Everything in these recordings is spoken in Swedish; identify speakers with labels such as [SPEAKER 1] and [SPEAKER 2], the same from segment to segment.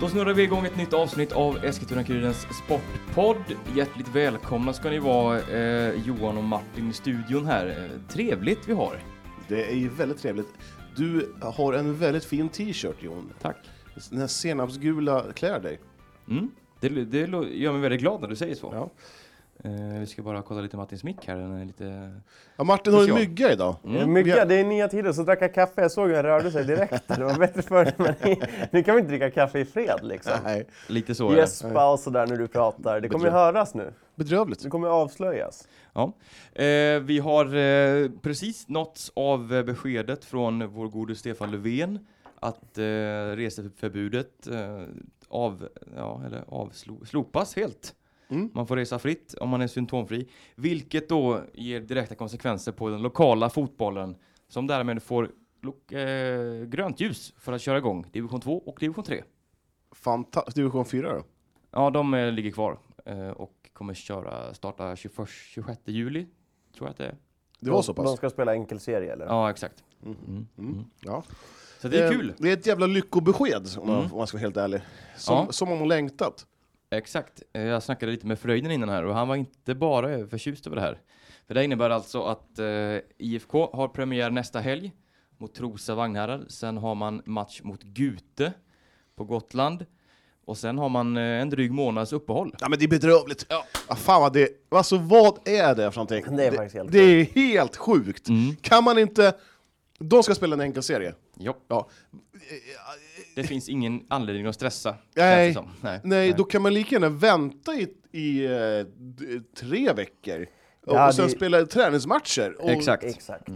[SPEAKER 1] Då snurrar vi igång ett nytt avsnitt av Eskilstuna-Kurirens Sportpodd. Hjärtligt välkomna ska ni vara eh, Johan och Martin i studion här. Eh, Trevligt vi har.
[SPEAKER 2] Det är ju väldigt trevligt. Du har en väldigt fin t-shirt Jon.
[SPEAKER 1] Tack.
[SPEAKER 2] Den här senapsgula klär dig.
[SPEAKER 1] Mm. Det, det lo- gör mig väldigt glad när du säger så.
[SPEAKER 2] Ja.
[SPEAKER 1] Eh, vi ska bara kolla lite Martins mick här. Den är lite...
[SPEAKER 2] Ja, Martin har en
[SPEAKER 1] Special.
[SPEAKER 2] mygga idag.
[SPEAKER 1] Mm.
[SPEAKER 3] Mygga, Eh, det är nya tider. Så drack jag kaffe. Jag såg hur den rörde sig direkt. Det var bättre förr. Men nu kan vi inte dricka kaffe i fred liksom.
[SPEAKER 2] Nej,
[SPEAKER 1] Lite så är det.
[SPEAKER 3] Gäspa och sådär när du pratar. Det kommer ju höras nu.
[SPEAKER 2] bedrövligt.
[SPEAKER 3] Det kommer ju avslöjas.
[SPEAKER 1] Ja. Eh, vi har eh, precis nåtts av eh, beskedet från vår gode Stefan Löfven att eh, reseförbudet eh, av, ja, eller avslo, slopas helt.
[SPEAKER 2] Mm.
[SPEAKER 1] Man får resa fritt om man är symptomfri, vilket då ger direkta konsekvenser på den lokala fotbollen som därmed får lo- eh, grönt ljus för att köra igång division 2 och division 3.
[SPEAKER 2] Fantastiskt. Division 4 då?
[SPEAKER 1] Ja, de eh, ligger kvar eh, och kommer köra, starta 21, 26 juli, tror jag att det är.
[SPEAKER 2] Det var
[SPEAKER 3] De-
[SPEAKER 2] så pass?
[SPEAKER 3] De ska spela enkelserie eller?
[SPEAKER 1] Ja, exakt.
[SPEAKER 2] Mm.
[SPEAKER 1] Mm. Mm.
[SPEAKER 2] Ja.
[SPEAKER 1] Så det är
[SPEAKER 2] Eh,
[SPEAKER 1] kul.
[SPEAKER 2] Det är ett jävla lyckobesked om man,
[SPEAKER 1] Mm.
[SPEAKER 2] om man ska vara helt ärlig. Som,
[SPEAKER 1] Ja.
[SPEAKER 2] som om hon längtat.
[SPEAKER 1] Exakt. Eh, Jag snackade lite med Fröjden innan här och han var inte bara förtjust över det här. För det innebär alltså att eh, IFK har premiär nästa helg mot Trosa Vagnhärad. Sen har man match mot Gute på Gotland. Och sen har man eh, en dryg månads uppehåll.
[SPEAKER 2] Ja men det är bedrövligt. Ja. Ah, fan vad det Alltså vad är det för någonting?
[SPEAKER 3] Det är faktiskt helt
[SPEAKER 2] det är helt sjukt.
[SPEAKER 1] Mm.
[SPEAKER 2] Kan man inte... De ska spela en enkel serie.
[SPEAKER 1] Jo,
[SPEAKER 2] Ja.
[SPEAKER 1] det finns ingen anledning att stressa. känns
[SPEAKER 2] Nej.
[SPEAKER 1] det som. Nej.
[SPEAKER 2] Nej, då kan man lika gärna vänta i, i eh, d- tre veckor. Och
[SPEAKER 3] Ja,
[SPEAKER 2] sen
[SPEAKER 3] det-
[SPEAKER 2] spela träningsmatcher. Och
[SPEAKER 1] Exakt.
[SPEAKER 3] Exakt.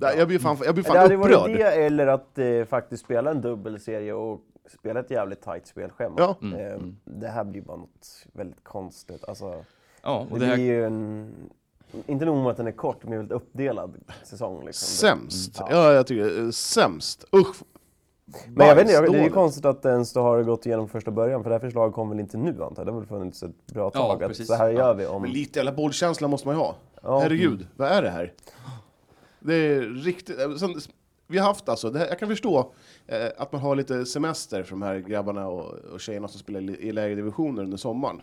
[SPEAKER 2] Där, jag blir fan, jag blir
[SPEAKER 3] det
[SPEAKER 2] Mm. fan
[SPEAKER 3] hade
[SPEAKER 2] upprörd.
[SPEAKER 3] varit det eller att eh, faktiskt spela en dubbelserie och spela ett jävligt tajt spelschema.
[SPEAKER 2] Ja. Mm.
[SPEAKER 3] Eh, Det här blir bara något väldigt konstigt. Alltså,
[SPEAKER 1] Ja,
[SPEAKER 3] det,
[SPEAKER 1] och det här
[SPEAKER 3] blir ju en... Inte nog med att den är kort, men väldigt uppdelad säsong. Liksom. Det-
[SPEAKER 2] Sämst. Ja, jag tycker eh, sämst. Usch.
[SPEAKER 3] Men jag vet inte, jag- det är ju
[SPEAKER 2] Bajsdåligt.
[SPEAKER 3] konstigt att det ens då har gått igenom första början, för det här förslaget kom väl inte nu antar jag? Det har väl funnits ett bra
[SPEAKER 1] Ja,
[SPEAKER 3] tag? att
[SPEAKER 1] precis.
[SPEAKER 3] så här
[SPEAKER 1] Ja.
[SPEAKER 3] gör vi om...
[SPEAKER 2] Men lite jävla bollkänsla måste man ju ha.
[SPEAKER 3] Ja.
[SPEAKER 2] Herregud, vad är det här? Det är riktigt... eh, Sen, vi har haft alltså, det här, jag kan förstå eh, att man har lite semester för de här grabbarna och, och tjejerna som spelar i, i lägre divisioner under sommaren.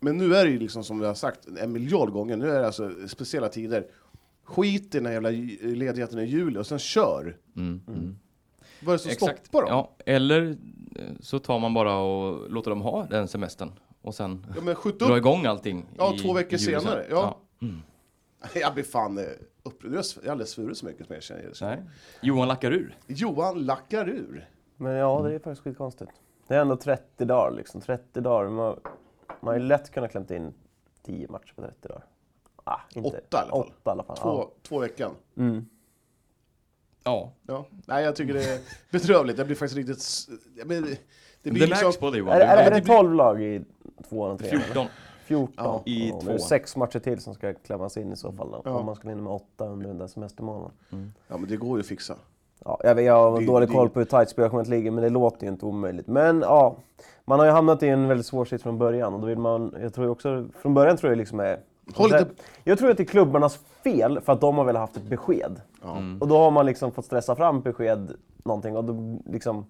[SPEAKER 2] Men nu är det ju liksom som vi har sagt en miljard gånger, nu är det alltså speciella tider. Skit i den här jävla ju- ledigheten i juli och sen kör! Mm. Vad är det som stoppar dem? Ja.
[SPEAKER 1] Mm. Ja, eller eh, så tar man bara och låter dem ha den semestern och sen
[SPEAKER 2] men skjut
[SPEAKER 1] dra
[SPEAKER 2] upp!
[SPEAKER 1] igång allting.
[SPEAKER 2] Ja,
[SPEAKER 1] i
[SPEAKER 2] två veckor
[SPEAKER 1] juli sen.
[SPEAKER 2] senare, ja. Jag blir fan eh, upprörd. Jag har aldrig svurit så mycket som jag känner.
[SPEAKER 1] Nej. Johan lackar ur.
[SPEAKER 2] Johan lackar ur.
[SPEAKER 3] Men ja, det är faktiskt skitkonstigt. Det är ändå 30 dagar liksom. 30 dagar. Man, man har ju lätt kunnat klämt in 10 matcher på 30 dagar. Ah, inte.
[SPEAKER 2] Åtta i alla fall.
[SPEAKER 3] Åtta i alla fall.
[SPEAKER 2] Två, två veckan.
[SPEAKER 1] Ja.
[SPEAKER 2] Ja. Nej, jag tycker det är bedrövligt. Jag blir faktiskt riktigt... s- Jag blir, det
[SPEAKER 1] Det
[SPEAKER 2] blir
[SPEAKER 1] märks
[SPEAKER 2] liksom...
[SPEAKER 1] på dig
[SPEAKER 3] Ja.
[SPEAKER 1] Johan.
[SPEAKER 3] Är,
[SPEAKER 1] Du-
[SPEAKER 3] är, är det
[SPEAKER 1] du blir
[SPEAKER 3] 12 lag i tvåan och trean? eller?
[SPEAKER 1] 14.
[SPEAKER 3] 14.
[SPEAKER 2] Ja,
[SPEAKER 1] i
[SPEAKER 3] det är
[SPEAKER 1] tvåan.
[SPEAKER 3] sex matcher till som ska klämmas in i så fall. då,
[SPEAKER 2] Ja.
[SPEAKER 3] Om man ska hinna med åtta under den där semestermånaden.
[SPEAKER 2] Ja, men det går ju att fixa.
[SPEAKER 3] Ja, jag, vet- jag har
[SPEAKER 2] Det-
[SPEAKER 3] dålig
[SPEAKER 2] det-
[SPEAKER 3] koll på hur tajt spelschemat ligger, men det låter ju inte omöjligt. Men ja, man har ju hamnat i en väldigt svår sits från början. Och då vill man, jag tror ju också, från början tror jag liksom är...
[SPEAKER 2] Håll lite-
[SPEAKER 3] Jag tror att det är klubbarnas fel för att de har väl haft ett besked.
[SPEAKER 1] Mm.
[SPEAKER 3] Och då har man liksom fått stressa fram besked, någonting, och då liksom...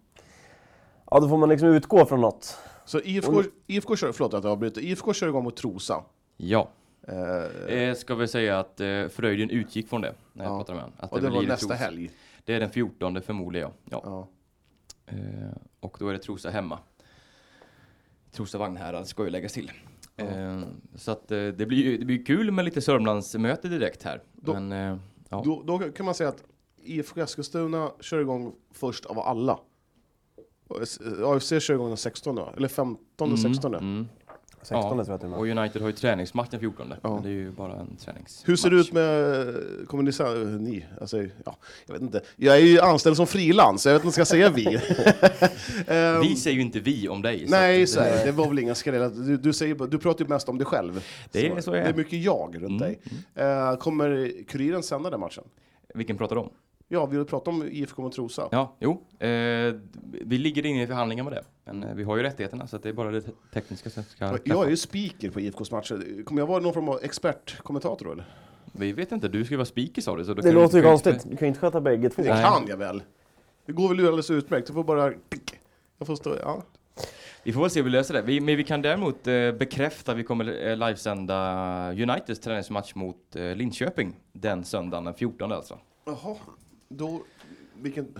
[SPEAKER 3] Ja, då får man liksom utgå från något.
[SPEAKER 2] Så IFK, IFK kör... Förlåt att jag avbryter. IFK kör igång mot Trosa.
[SPEAKER 1] Ja.
[SPEAKER 2] Eh,
[SPEAKER 1] Eh, ska vi säga att eh, Fröjden utgick från det när jag
[SPEAKER 2] Ja.
[SPEAKER 1] pratade med honom. Att
[SPEAKER 2] och det
[SPEAKER 1] blir
[SPEAKER 2] var
[SPEAKER 1] i
[SPEAKER 2] nästa
[SPEAKER 1] Trosa.
[SPEAKER 2] helg.
[SPEAKER 1] Det är den 14 förmodligen ja. ja.
[SPEAKER 2] Ja.
[SPEAKER 1] Eh, och då är det Trosa hemma. Trosa Vagnhärad ska ju läggas till. Eh, så att eh, det blir ju det blir kul med lite Sörmlandsmöte direkt här.
[SPEAKER 2] Då-
[SPEAKER 1] Men eh, ja.
[SPEAKER 2] Då, då kan man säga att IFK Eskilstuna kör igång först av alla. Och S- AFC kör igång den 16 då, eller 15 och 16.
[SPEAKER 1] Mm.
[SPEAKER 3] 16
[SPEAKER 1] Ja,
[SPEAKER 3] tror jag till och med.
[SPEAKER 1] Och United har ju träningsmatch den 14.
[SPEAKER 2] Ja.
[SPEAKER 1] Men det är ju bara en träningsmatch.
[SPEAKER 2] Hur ser det ut med... Kommer ni säga ni? Alltså, ja, jag vet inte. Jag är ju anställd som frilans, så jag vet inte om jag ska säga vi. Ehm,
[SPEAKER 1] Vi säger ju inte vi om dig. så
[SPEAKER 2] Nej,
[SPEAKER 1] att-
[SPEAKER 2] så är det. Det var väl ingen skräll. Du, du, säger, bara- du pratar ju mest om dig själv.
[SPEAKER 1] Det är så jag är.
[SPEAKER 2] det är mycket jag
[SPEAKER 1] Mm.
[SPEAKER 2] runt dig. Eh, kommer Kuriren sända den matchen?
[SPEAKER 1] Vilken pratar du om?
[SPEAKER 2] Ja, vi pratar om IFK mot Trosa.
[SPEAKER 1] Ja, jo. Eh, vi ligger inne i förhandlingar med det. Men eh, vi har ju rättigheterna så att det är bara det te- tekniska som ska...
[SPEAKER 2] Jag är ju speaker på IFKs matcher. Kommer jag vara någon form av expertkommentator då, eller?
[SPEAKER 1] Vi vet inte, du ska ju vara speaker sa du. Så då
[SPEAKER 3] Det
[SPEAKER 1] kan vi-
[SPEAKER 3] låter
[SPEAKER 1] kan
[SPEAKER 3] ju
[SPEAKER 1] vi-
[SPEAKER 3] konstigt. Du kan ju inte sköta bägge två.
[SPEAKER 2] Det
[SPEAKER 1] Nej.
[SPEAKER 2] kan jag väl? Det går väl alldeles utmärkt. Jag får bara... Jag får stå... Ja.
[SPEAKER 1] Vi får väl se hur vi löser det. Vi, men vi kan däremot eh, bekräfta att vi kommer eh, livesända Uniteds träningsmatch mot eh, Linköping den söndagen, den 14 alltså.
[SPEAKER 2] Jaha. Då... Vilken...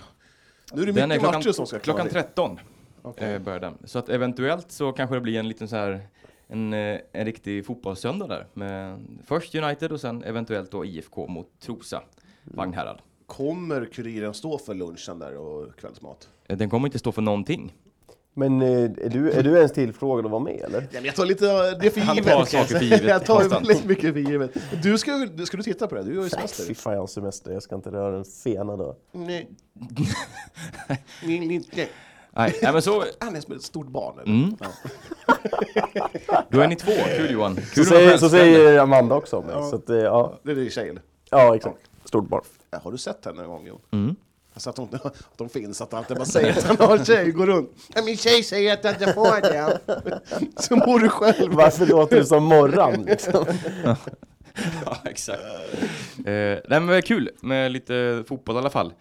[SPEAKER 2] Nu är det
[SPEAKER 1] Den
[SPEAKER 2] mycket matcher som ska
[SPEAKER 1] klockan
[SPEAKER 2] klaras.
[SPEAKER 1] 13
[SPEAKER 2] Okej.
[SPEAKER 1] eh, börjar den. Så att eventuellt så kanske det blir en liten så här en, eh, en riktig fotbollssöndag där. Men först United och sen eventuellt då IFK mot Trosa,
[SPEAKER 3] Mm.
[SPEAKER 1] Vagnhärad.
[SPEAKER 2] Kommer kuriren stå för lunchen där och kvällsmat?
[SPEAKER 1] Eh, Den kommer inte stå för någonting.
[SPEAKER 3] Men eh, är du, är du ens tillfrågad att vara med eller?
[SPEAKER 2] Ja, men jag tar lite av det för
[SPEAKER 1] Han
[SPEAKER 2] givet.
[SPEAKER 1] tar saker för givet
[SPEAKER 2] jag tar
[SPEAKER 1] konstant.
[SPEAKER 2] väldigt mycket för givet. Du ska, ju- ska du titta på det? Du har ju
[SPEAKER 3] Fy
[SPEAKER 2] semester.
[SPEAKER 3] fan, jag har semester. Jag ska inte röra en fena då.
[SPEAKER 2] Nej. Nej, nej, nej.
[SPEAKER 1] Nej, nej men så,
[SPEAKER 2] Han är som ett stort barn. eller?
[SPEAKER 1] Mm.
[SPEAKER 2] Ja.
[SPEAKER 1] då är ni två. Kul Johan. Kul
[SPEAKER 3] Så
[SPEAKER 1] att vara
[SPEAKER 3] säger, så
[SPEAKER 1] självständig.
[SPEAKER 3] säger Amanda också om mig.
[SPEAKER 2] Ja.
[SPEAKER 3] Så att, eh, ja.
[SPEAKER 2] Det är tjejen.
[SPEAKER 3] ja, exakt. Stort barn.
[SPEAKER 2] Ja, har du sett henne någon gång? Jon?
[SPEAKER 1] Mm.
[SPEAKER 2] Alltså att hon, att hon finns, att han inte bara säger att han har en tjej, går runt. Ja, min tjej säger att jag inte får det. Så mår du själv.
[SPEAKER 3] Varför låter du som Morran liksom?
[SPEAKER 1] Ja, exakt. Eh, nej, men vad kul med lite fotboll i alla fall.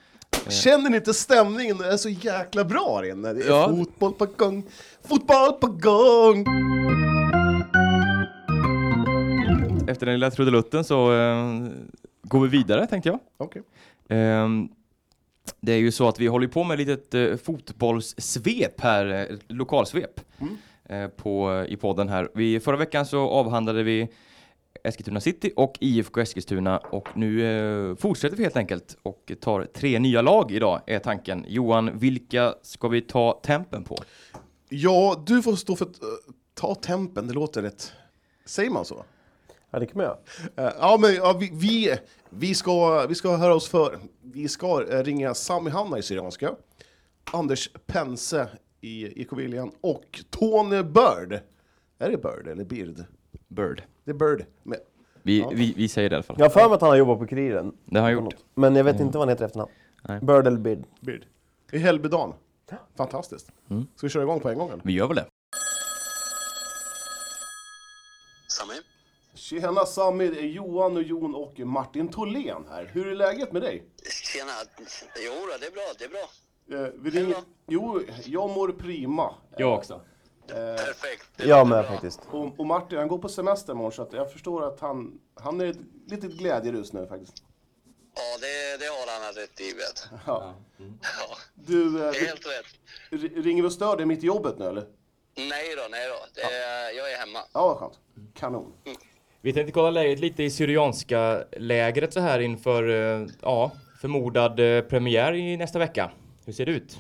[SPEAKER 2] Känner ni inte stämningen? Den är så jäkla bra här inne. Det är
[SPEAKER 1] Ja.
[SPEAKER 2] fotboll på gång, fotboll på gång.
[SPEAKER 1] Efter den lilla trudelutten så eh, går vi vidare tänkte jag.
[SPEAKER 2] Okej.
[SPEAKER 1] Ehm, det är ju så att vi håller på med ett litet eh, fotbollssvep här, eh, lokalsvep, eh, på, i podden här. Vi, förra veckan så avhandlade vi Eskilstuna City och IFK Eskilstuna och nu eh, fortsätter vi helt enkelt och tar tre nya lag idag, är tanken. Johan, vilka ska vi ta tempen på?
[SPEAKER 2] Ja, du får stå för att eh, ta tempen, det låter rätt... Säger man så?
[SPEAKER 3] Ja, det kan man göra.
[SPEAKER 2] Eh, Ja, men ja, vi, vi, vi, ska, vi ska höra oss för. Vi ska eh, ringa Sami Hanna i Syrianska, Anders Pense i IK Viljan och Tony Bird. Är det Bird eller Bird?
[SPEAKER 1] Bird.
[SPEAKER 2] Det är Bird. Men,
[SPEAKER 1] Vi, vi, vi säger det i alla fall.
[SPEAKER 3] Jag har för mig att han har jobbat på Kuriren.
[SPEAKER 1] Det har han gjort. Mm.
[SPEAKER 3] Men jag vet inte vad han heter i efternamn.
[SPEAKER 1] Nej.
[SPEAKER 3] Bird eller Bird.
[SPEAKER 2] Bird. I Hällbydagen. Fantastiskt. Ska vi köra igång på en gång? Eller?
[SPEAKER 1] Vi gör väl det.
[SPEAKER 4] Sami?
[SPEAKER 2] Tjena Sami, det är Johan och Jon och Martin Tholén här. Hur är läget med dig?
[SPEAKER 4] Tjena. Jo, då, det är bra. Det är bra.
[SPEAKER 2] Eh, Vi ringer...
[SPEAKER 4] Hej då.
[SPEAKER 2] Jo, jag mår prima.
[SPEAKER 1] Jag också.
[SPEAKER 4] Perfekt. Det
[SPEAKER 3] Jag
[SPEAKER 4] låter
[SPEAKER 3] med
[SPEAKER 4] bra.
[SPEAKER 3] faktiskt.
[SPEAKER 2] Och, och Martin, han går på semester imorgon så att jag förstår att han, han är i ett litet glädjerus nu faktiskt.
[SPEAKER 4] Ja, det, det har han rätt i. Vet.
[SPEAKER 2] Ja. Mm.
[SPEAKER 4] Ja,
[SPEAKER 2] Du, eh,
[SPEAKER 4] det är helt rätt.
[SPEAKER 2] r- ringer vi och stör dig mitt i jobbet nu eller?
[SPEAKER 4] Nej då, nej då. Det, Jag är hemma.
[SPEAKER 2] Ja, vad skönt. Kanon.
[SPEAKER 4] Mm.
[SPEAKER 1] Vi tänkte kolla läget lite i Syrianska lägret så här inför eh, ja, förmodad eh, premiär i nästa vecka. Hur ser det ut?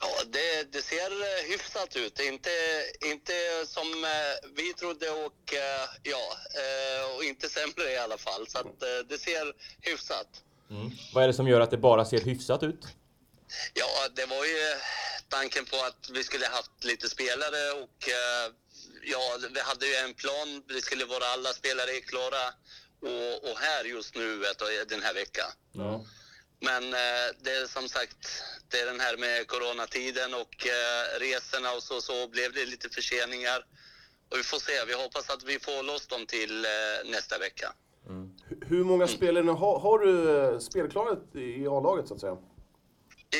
[SPEAKER 4] Ja, det, det ser eh, hyfsat ut. Inte, inte som eh, vi trodde och eh, ja, eh, och inte sämre i alla fall. Så att, eh, det ser hyfsat.
[SPEAKER 1] Vad är det som gör att det bara ser hyfsat ut?
[SPEAKER 4] Ja, det var ju tanken på att vi skulle haft lite spelare och eh, ja, vi hade ju en plan. Det skulle vara alla spelare klara och, och här just nu vet du, den här veckan. Men eh, det är som sagt, det är den här med coronatiden och eh, resorna och så, så blev det lite förseningar. Och vi får se. Vi hoppas att vi får loss dem till eh, nästa vecka.
[SPEAKER 2] H- hur många spelare har, har du eh, spelklara i A-laget så att säga?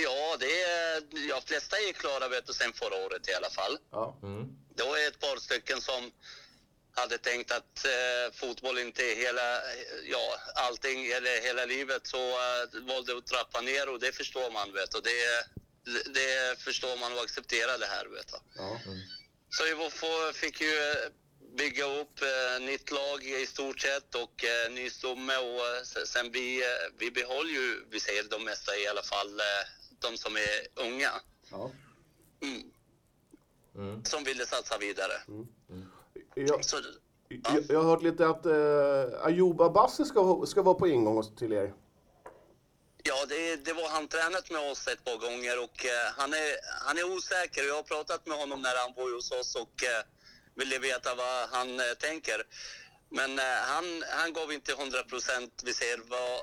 [SPEAKER 4] Ja, det är, ja, flesta är klara vet du, sen förra året i alla fall.
[SPEAKER 2] Ja.
[SPEAKER 4] Det var ett par stycken som hade tänkt att eh, fotboll inte är hela, ja, allting, eller hela livet, så eh, valde att trappa ner och det förstår man vet du. Det, det förstår man och accepterar det här vet du.
[SPEAKER 2] ja.
[SPEAKER 4] Så vi får, fick ju eh, bygga upp eh, nytt lag i stort sett och eh, ny stomme och eh, se- sen vi, eh, vi behåller ju, vi säger de mesta i alla fall, eh, de som är unga.
[SPEAKER 2] ja.
[SPEAKER 4] Mm. Som ville satsa vidare.
[SPEAKER 2] Jag,
[SPEAKER 4] Så,
[SPEAKER 2] jag, jag har hört lite att eh, Ayoub Abbasi ska, ska vara på ingång hos- till er.
[SPEAKER 4] ja, det, det var han tränat med oss ett par gånger och eh, han, är, han är osäker. Jag har pratat med honom när han var hos oss och eh, ville veta vad han eh, tänker. Men eh, han, han gav inte 100 procent. Vi ser vad,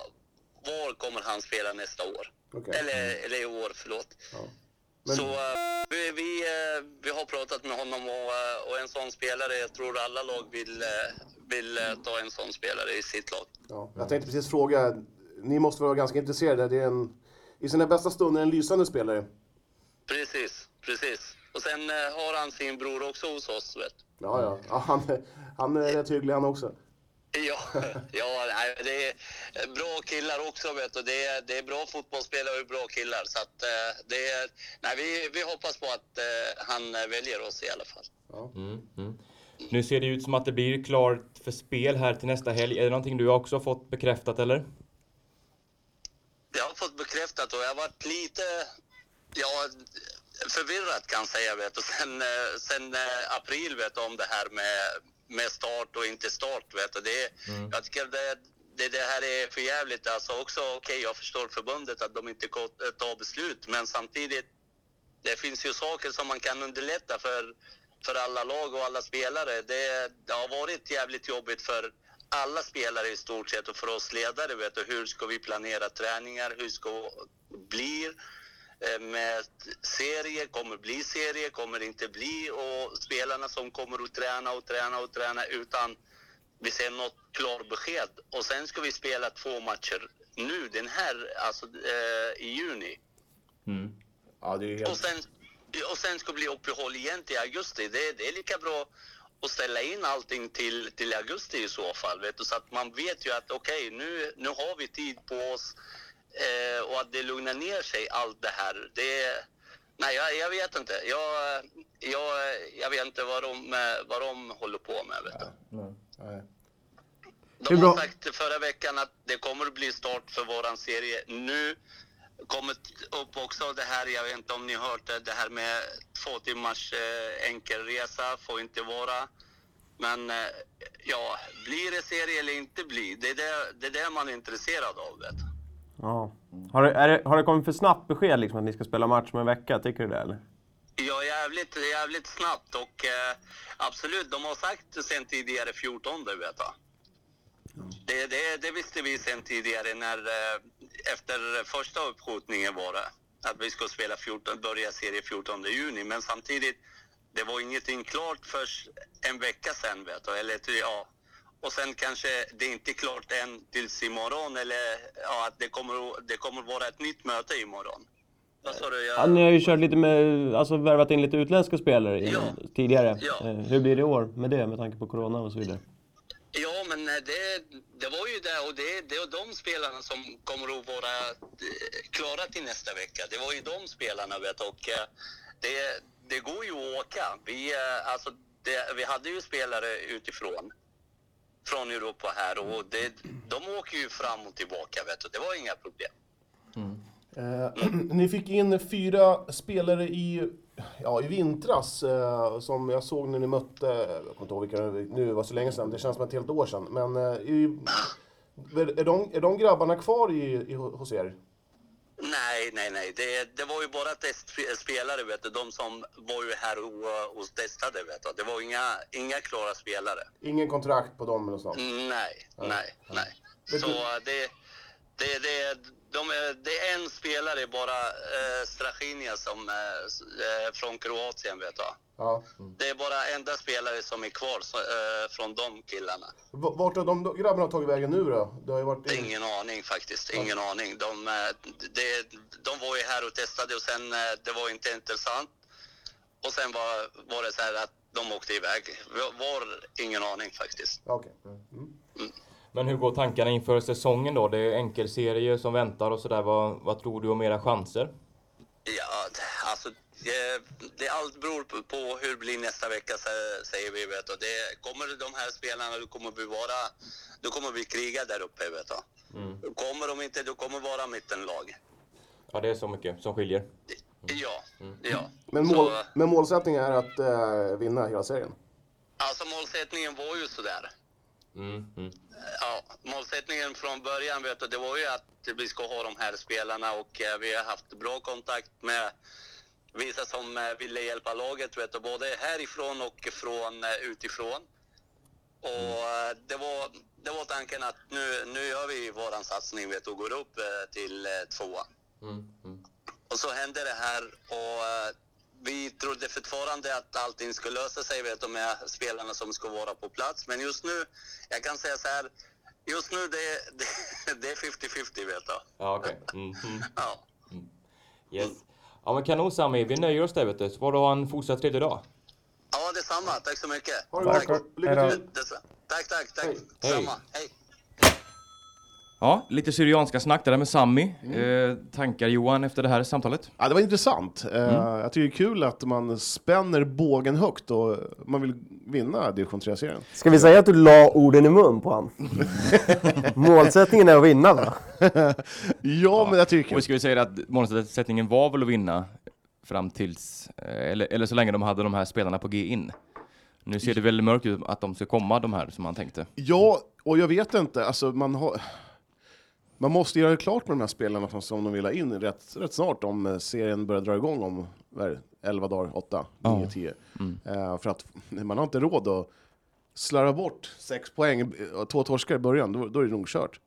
[SPEAKER 4] var kommer han spela nästa år?
[SPEAKER 2] Okej.
[SPEAKER 4] Eller, eller i år, förlåt.
[SPEAKER 2] Ja. Men-
[SPEAKER 4] Så eh, vi, vi, eh, vi har pratat med honom och, eh, och en sån spelare, jag tror alla lag vill, eh, vill eh, ta en sån spelare i sitt lag.
[SPEAKER 2] Ja, jag tänkte precis fråga, ni måste vara ganska intresserade. Det är en, I sina bästa stunder en lysande spelare.
[SPEAKER 4] Precis, precis. Och sen eh, har han sin bror också hos oss, vet du.
[SPEAKER 2] Ja, ja. ja han, han är rätt hygglig han också.
[SPEAKER 4] Ja, ja nej, det är bra killar också vet du. Det är, det är bra fotbollsspelare och bra killar. Så att, eh, det är, nej, vi, vi hoppas på att eh, han eh, väljer oss i alla fall.
[SPEAKER 1] Mm, mm. Nu ser det ut som att det blir klart för spel här till nästa helg. Är det någonting du också har fått bekräftat eller?
[SPEAKER 4] Jag har fått bekräftat och jag har varit lite ja, förvirrad kan jag säga vet du. Sen, eh, sen eh, april vet du, om det här med, med start och inte start. Vet du. Det, Jag tycker det, det, det här är för jävligt alltså också. Okej, jag förstår förbundet att de inte ko- eh, tar beslut, men samtidigt det finns ju saker som man kan underlätta för, för alla lag och alla spelare. Det, det har varit jävligt jobbigt för alla spelare i stort sett och för oss ledare. Vet du, hur ska vi planera träningar? Hur ska blir eh, med serie? Kommer bli serie? Kommer inte bli? Och spelarna som kommer att träna och träna och träna utan vi ser något klart besked. Och sen ska vi spela två matcher nu, den här, alltså eh, i juni.
[SPEAKER 2] Ja, det är
[SPEAKER 4] Och sen, och sen ska det bli uppehåll igen till augusti. Det, det är lika bra att ställa in allting till, till augusti i så fall. Vet du? Så att man vet ju att okej, nu, nu har vi tid på oss eh, och att det lugnar ner sig allt det här. Det, nej, jag, jag vet inte. Jag, eh, jag, eh, jag vet inte vad de, eh, vad de håller på med. Vet du?
[SPEAKER 2] Nej.
[SPEAKER 4] De
[SPEAKER 3] Hur bra-
[SPEAKER 4] har sagt förra veckan att det kommer att bli start för våran serie nu. Kommit upp också det här, jag vet inte om ni har hört det, det här med två timmars eh, enkelresa får inte vara. Men eh, ja, blir det serie eller inte blir, det är det, det, är det man är intresserad av. Vet. du.
[SPEAKER 3] Ja. Har, det, är det, har det kommit för snabbt besked liksom, att ni ska spela match om en vecka? Tycker du det eller?
[SPEAKER 4] Ja, jävligt, jävligt snabbt och eh, absolut, de har sagt sen tidigare 14 vet jag. Det, det, det visste vi sen tidigare när eh, efter första uppskjutningen var det att vi skulle spela 14, börja serie 14 juni, men samtidigt det var ingenting klart först en vecka sen vet du, eller ty- ja. Och sen kanske det är inte klart än tills imorgon eller ja, att det kommer, att- det kommer vara ett nytt möte imorgon. Vad sa du? Jag-
[SPEAKER 3] Ja, ni har ju kört lite med, alltså värvat in lite utländska spelare innan,
[SPEAKER 4] Ja.
[SPEAKER 3] tidigare.
[SPEAKER 4] Ja.
[SPEAKER 3] Eh, Hur blir det i år med det med tanke på corona och så vidare?
[SPEAKER 4] Ja, men eh, det, det var ju det och det, det är de spelarna som kommer att vara eh, klara till nästa vecka. Det var ju de spelarna vet du, och eh, det, det går ju att åka. Vi, eh, alltså, det, vi hade ju spelare utifrån från Europa här och det, de åker ju fram och tillbaka vet du. Det var inga problem.
[SPEAKER 2] Eh, ni fick in fyra spelare i, ja, i vintras, eh, som jag såg när ni mötte, jag kommer inte ihåg vilka det nu det var så länge sedan, det känns som ett helt år sedan. Men eh, i, är, de, är de grabbarna kvar i, i, hos er?
[SPEAKER 4] Nej, nej, nej. Det, det var ju bara testspelare, vet du. De som var ju här och, och testade, vet du. Det var inga, inga klara spelare.
[SPEAKER 2] Ingen kontrakt på dem eller något sånt?
[SPEAKER 4] Nej, nej, nej.
[SPEAKER 2] Men
[SPEAKER 4] Så
[SPEAKER 2] du-
[SPEAKER 4] eh, det, det, det, de, är- det är en spelare bara, eh, Strachinja, som, eh, s- eh, från Kroatien vet du.
[SPEAKER 2] Ja.
[SPEAKER 4] Det är bara enda spelare som är kvar så, eh, från de killarna.
[SPEAKER 2] V- Vart har de grabbarna tagit vägen nu då? Det har ju varit...
[SPEAKER 4] Ingen aning faktiskt, ingen aning. De, eh, det, de var ju här och testade och sen eh, det var inte intressant. Och sen var, var det så här att de åkte iväg. Var- Var ingen aning faktiskt.
[SPEAKER 2] Ja, Okej. Mm.
[SPEAKER 1] Men hur går tankarna inför säsongen då? Det är enkelserie som väntar och sådär. Vad, vad tror du om era chanser?
[SPEAKER 4] Ja, alltså det, det allt beror på, på hur det blir nästa vecka sä- säger vi vet du. Det kommer de här spelarna, du kommer vi vara, du kommer vi kriga där uppe vet du.
[SPEAKER 2] Mm.
[SPEAKER 4] Kommer de inte, du kommer vara mittenlag.
[SPEAKER 1] Ja, det är så mycket som skiljer.
[SPEAKER 4] Ja, ja.
[SPEAKER 2] Mm. Men, mål,
[SPEAKER 4] Så,
[SPEAKER 2] men målsättningen är att eh, vinna hela serien?
[SPEAKER 4] alltså målsättningen var ju sådär.
[SPEAKER 1] Mm, mm.
[SPEAKER 4] Ja, målsättningen från början vet du, det var ju att vi ska ha de här spelarna och eh, vi har haft bra kontakt med vissa som eh, ville hjälpa laget, vet du, både härifrån och från eh, utifrån. Och eh, det var, det var tanken att nu, nu gör vi våran satsning vet du, och går upp eh, till eh, tvåan.
[SPEAKER 1] Mm, mm.
[SPEAKER 4] Och så hände det här och eh, vi trodde fortfarande att allting skulle lösa sig vet, du, med spelarna som skulle vara på plats. Men just nu, jag kan säga så här, just nu det, det, det är 50-50 vet du.
[SPEAKER 1] Ja, okej. Mm, mm.
[SPEAKER 4] Ja.
[SPEAKER 1] Yes. Ja, men kanon Sami. Vi nöjer oss där vet du. Så får du ha en fortsatt trevlig dag.
[SPEAKER 4] ja, detsamma. Tack så mycket.
[SPEAKER 2] Ha det bra.
[SPEAKER 4] Tack.
[SPEAKER 2] Lycka
[SPEAKER 3] Hej då.
[SPEAKER 2] till.
[SPEAKER 4] Dessa- Tack, tack, tack.
[SPEAKER 1] Hej.
[SPEAKER 4] Samma. Hej.
[SPEAKER 1] Ja, lite Syrianska snack det där med Sami. Eh, tankar Johan efter det här samtalet?
[SPEAKER 2] Ja, det var intressant. Eh, Jag tycker det är kul att man spänner bågen högt och man vill vinna division 3-serien.
[SPEAKER 3] Ska vi säga att du la orden i mun på han? Målsättningen är att vinna va?
[SPEAKER 2] Ja, men jag tycker
[SPEAKER 1] Och vi ska ju säga att målsättningen var väl att vinna fram tills, eh, eller, eller så länge de hade de här spelarna på G in. Nu ser det väl mörkt ut att de ska komma, de här som man tänkte.
[SPEAKER 2] Ja, och jag vet inte, alltså man har... Man måste göra det klart med de här spelarna som, som de vill ha in rätt, rätt snart om eh, serien börjar dra igång om vad är det, 11 dagar, 8, 9, 10.
[SPEAKER 1] Mm.
[SPEAKER 2] Eh, för att man har inte råd att slarva bort sex poäng eh, och två torskar i början, då, då är det nog kört.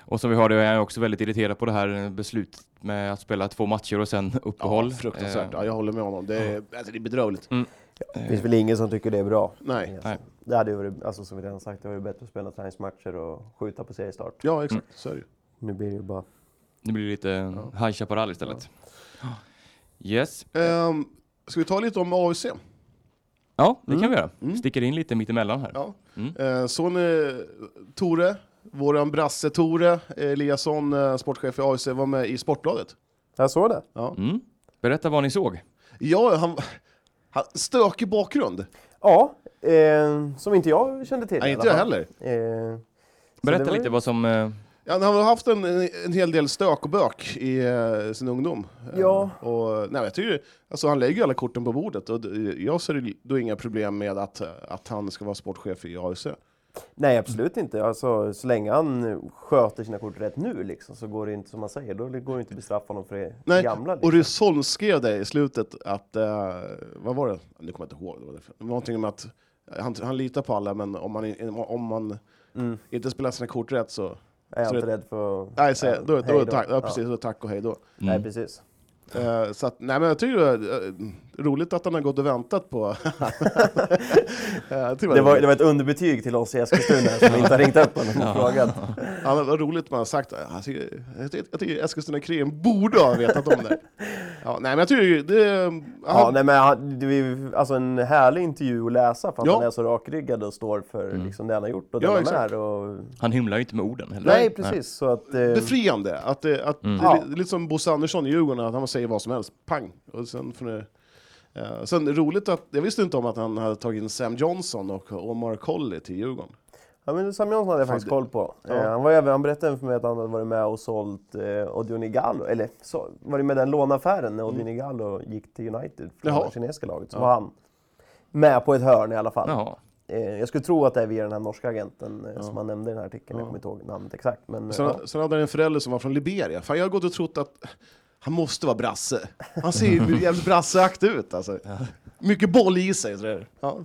[SPEAKER 1] Och som vi hörde är jag också väldigt irriterad på det här beslutet med att spela två matcher och sen uppehåll.
[SPEAKER 2] Fruktansvärt,
[SPEAKER 1] Eh, Mm.
[SPEAKER 2] ja, jag håller med honom. Det är, alltså, det är bedrövligt.
[SPEAKER 3] Det finns väl ingen som tycker det är bra.
[SPEAKER 2] Eh. Nej.
[SPEAKER 1] Nej.
[SPEAKER 3] Det hade ju varit, alltså som vi redan sagt, det var ju bättre att spela träningsmatcher och skjuta på seriestart.
[SPEAKER 2] Ja,
[SPEAKER 1] Mm.
[SPEAKER 2] exakt, så är det ju.
[SPEAKER 3] Nu blir det ju bara...
[SPEAKER 1] det blir lite High Chaparral istället. Yes.
[SPEAKER 2] Ehm, ska vi ta lite om AFC?
[SPEAKER 1] Ja, det kan vi göra. Sticker in lite mittemellan här.
[SPEAKER 2] Mm. Ja. Eh, så ni, Tore, våran brasse Tore Eliasson, eh, sportchef i AIC, var med i Sportbladet.
[SPEAKER 3] Jag såg det.
[SPEAKER 1] Mm. Berätta vad ni såg.
[SPEAKER 2] Ja, han, han stökig bakgrund.
[SPEAKER 3] Ja, eh, som inte jag kände till
[SPEAKER 2] Nej,
[SPEAKER 3] i
[SPEAKER 2] inte jag
[SPEAKER 3] alla fall.
[SPEAKER 2] heller.
[SPEAKER 3] Eh, så det
[SPEAKER 1] Berätta
[SPEAKER 3] var ju-
[SPEAKER 1] lite vad som... eh,
[SPEAKER 2] Ja, han har haft en, en hel del stök och bök i eh, sin ungdom. Eh,
[SPEAKER 3] Ja.
[SPEAKER 2] Och, nej, men jag tycker, alltså, han lägger ju alla korten på bordet och d- jag ser då inga problem med att, att han ska vara sportchef i AIC.
[SPEAKER 3] Nej, absolut inte. Alltså, så länge han sköter sina kort rätt nu liksom, så går det inte som man säger. Då går det inte att bestraffa honom för det
[SPEAKER 2] Nej,
[SPEAKER 3] gamla.
[SPEAKER 2] och
[SPEAKER 3] Liksom.
[SPEAKER 2] Rysholm skrev det i slutet att, eh, vad var det? Nu kommer jag inte ihåg. Det var det för- Någonting om att eh, han, han litar på alla, men om man, in- om man
[SPEAKER 3] Mm.
[SPEAKER 2] inte spelar sina kort rätt så...
[SPEAKER 3] Är jag
[SPEAKER 2] så
[SPEAKER 3] inte
[SPEAKER 2] det,
[SPEAKER 3] rädd för...
[SPEAKER 2] nej, så, då,
[SPEAKER 3] hej
[SPEAKER 2] då, tack, ja, precis, Mm. då tack och hej då.
[SPEAKER 3] Nej, precis.
[SPEAKER 2] Eh, så att, nej, men jag tycker det är eh, roligt att han har gått och väntat på... Eh, jag tycker
[SPEAKER 3] Det var, det var ett underbetyg till oss i Eskilstuna som inte har ringt upp honom och frågat.
[SPEAKER 2] Ja, men vad roligt man har sagt. Jag tycker, jag tycker, jag tycker Eskilstuna Krem borde ha vetat om det. Ja, nej, men jag tycker det...
[SPEAKER 3] Ja,
[SPEAKER 2] han-
[SPEAKER 3] nej, men han, det är ju alltså en härlig intervju att läsa för att
[SPEAKER 2] Ja.
[SPEAKER 3] han är så rakryggad och står för liksom, det han har gjort och
[SPEAKER 2] Ja,
[SPEAKER 3] det han
[SPEAKER 2] exakt.
[SPEAKER 3] är. Och...
[SPEAKER 1] Han hymlar ju inte med orden heller.
[SPEAKER 3] Nej, precis. Så att, eh,
[SPEAKER 2] befriande. Att, det- att det,
[SPEAKER 3] Ja.
[SPEAKER 2] är lite som Bosse Andersson i Djurgården, att han säger vad som helst, pang! Och sen, får ni, eh, sen roligt att, jag visste inte om att han hade tagit in Sam Johnson och Omar Colley till Djurgården.
[SPEAKER 3] ja, men Sam Johnson hade jag faktiskt koll på. Eh, han, var, även- han berättade för mig att han hade varit med och sålt eh, Odion Igalo, eller så, varit med i den låneaffären när Odion Igalo gick till United från
[SPEAKER 2] Mm. Jaha.
[SPEAKER 3] det kinesiska laget. Så var han med på ett hörn i alla fall.
[SPEAKER 1] Jaha.
[SPEAKER 3] Eh, jag skulle tro att det är via den här norska agenten eh, som han nämnde i den här artikeln. Jag kommer inte ihåg namnet exakt. Men,
[SPEAKER 2] Sen,
[SPEAKER 3] eh,
[SPEAKER 2] sen hade han en förälder som var från Liberia. Fan, jag har gått och trott att han måste vara brasse. Han ser ju jävligt brasseaktig ut alltså. Mycket boll i sig. tror jag. Ja.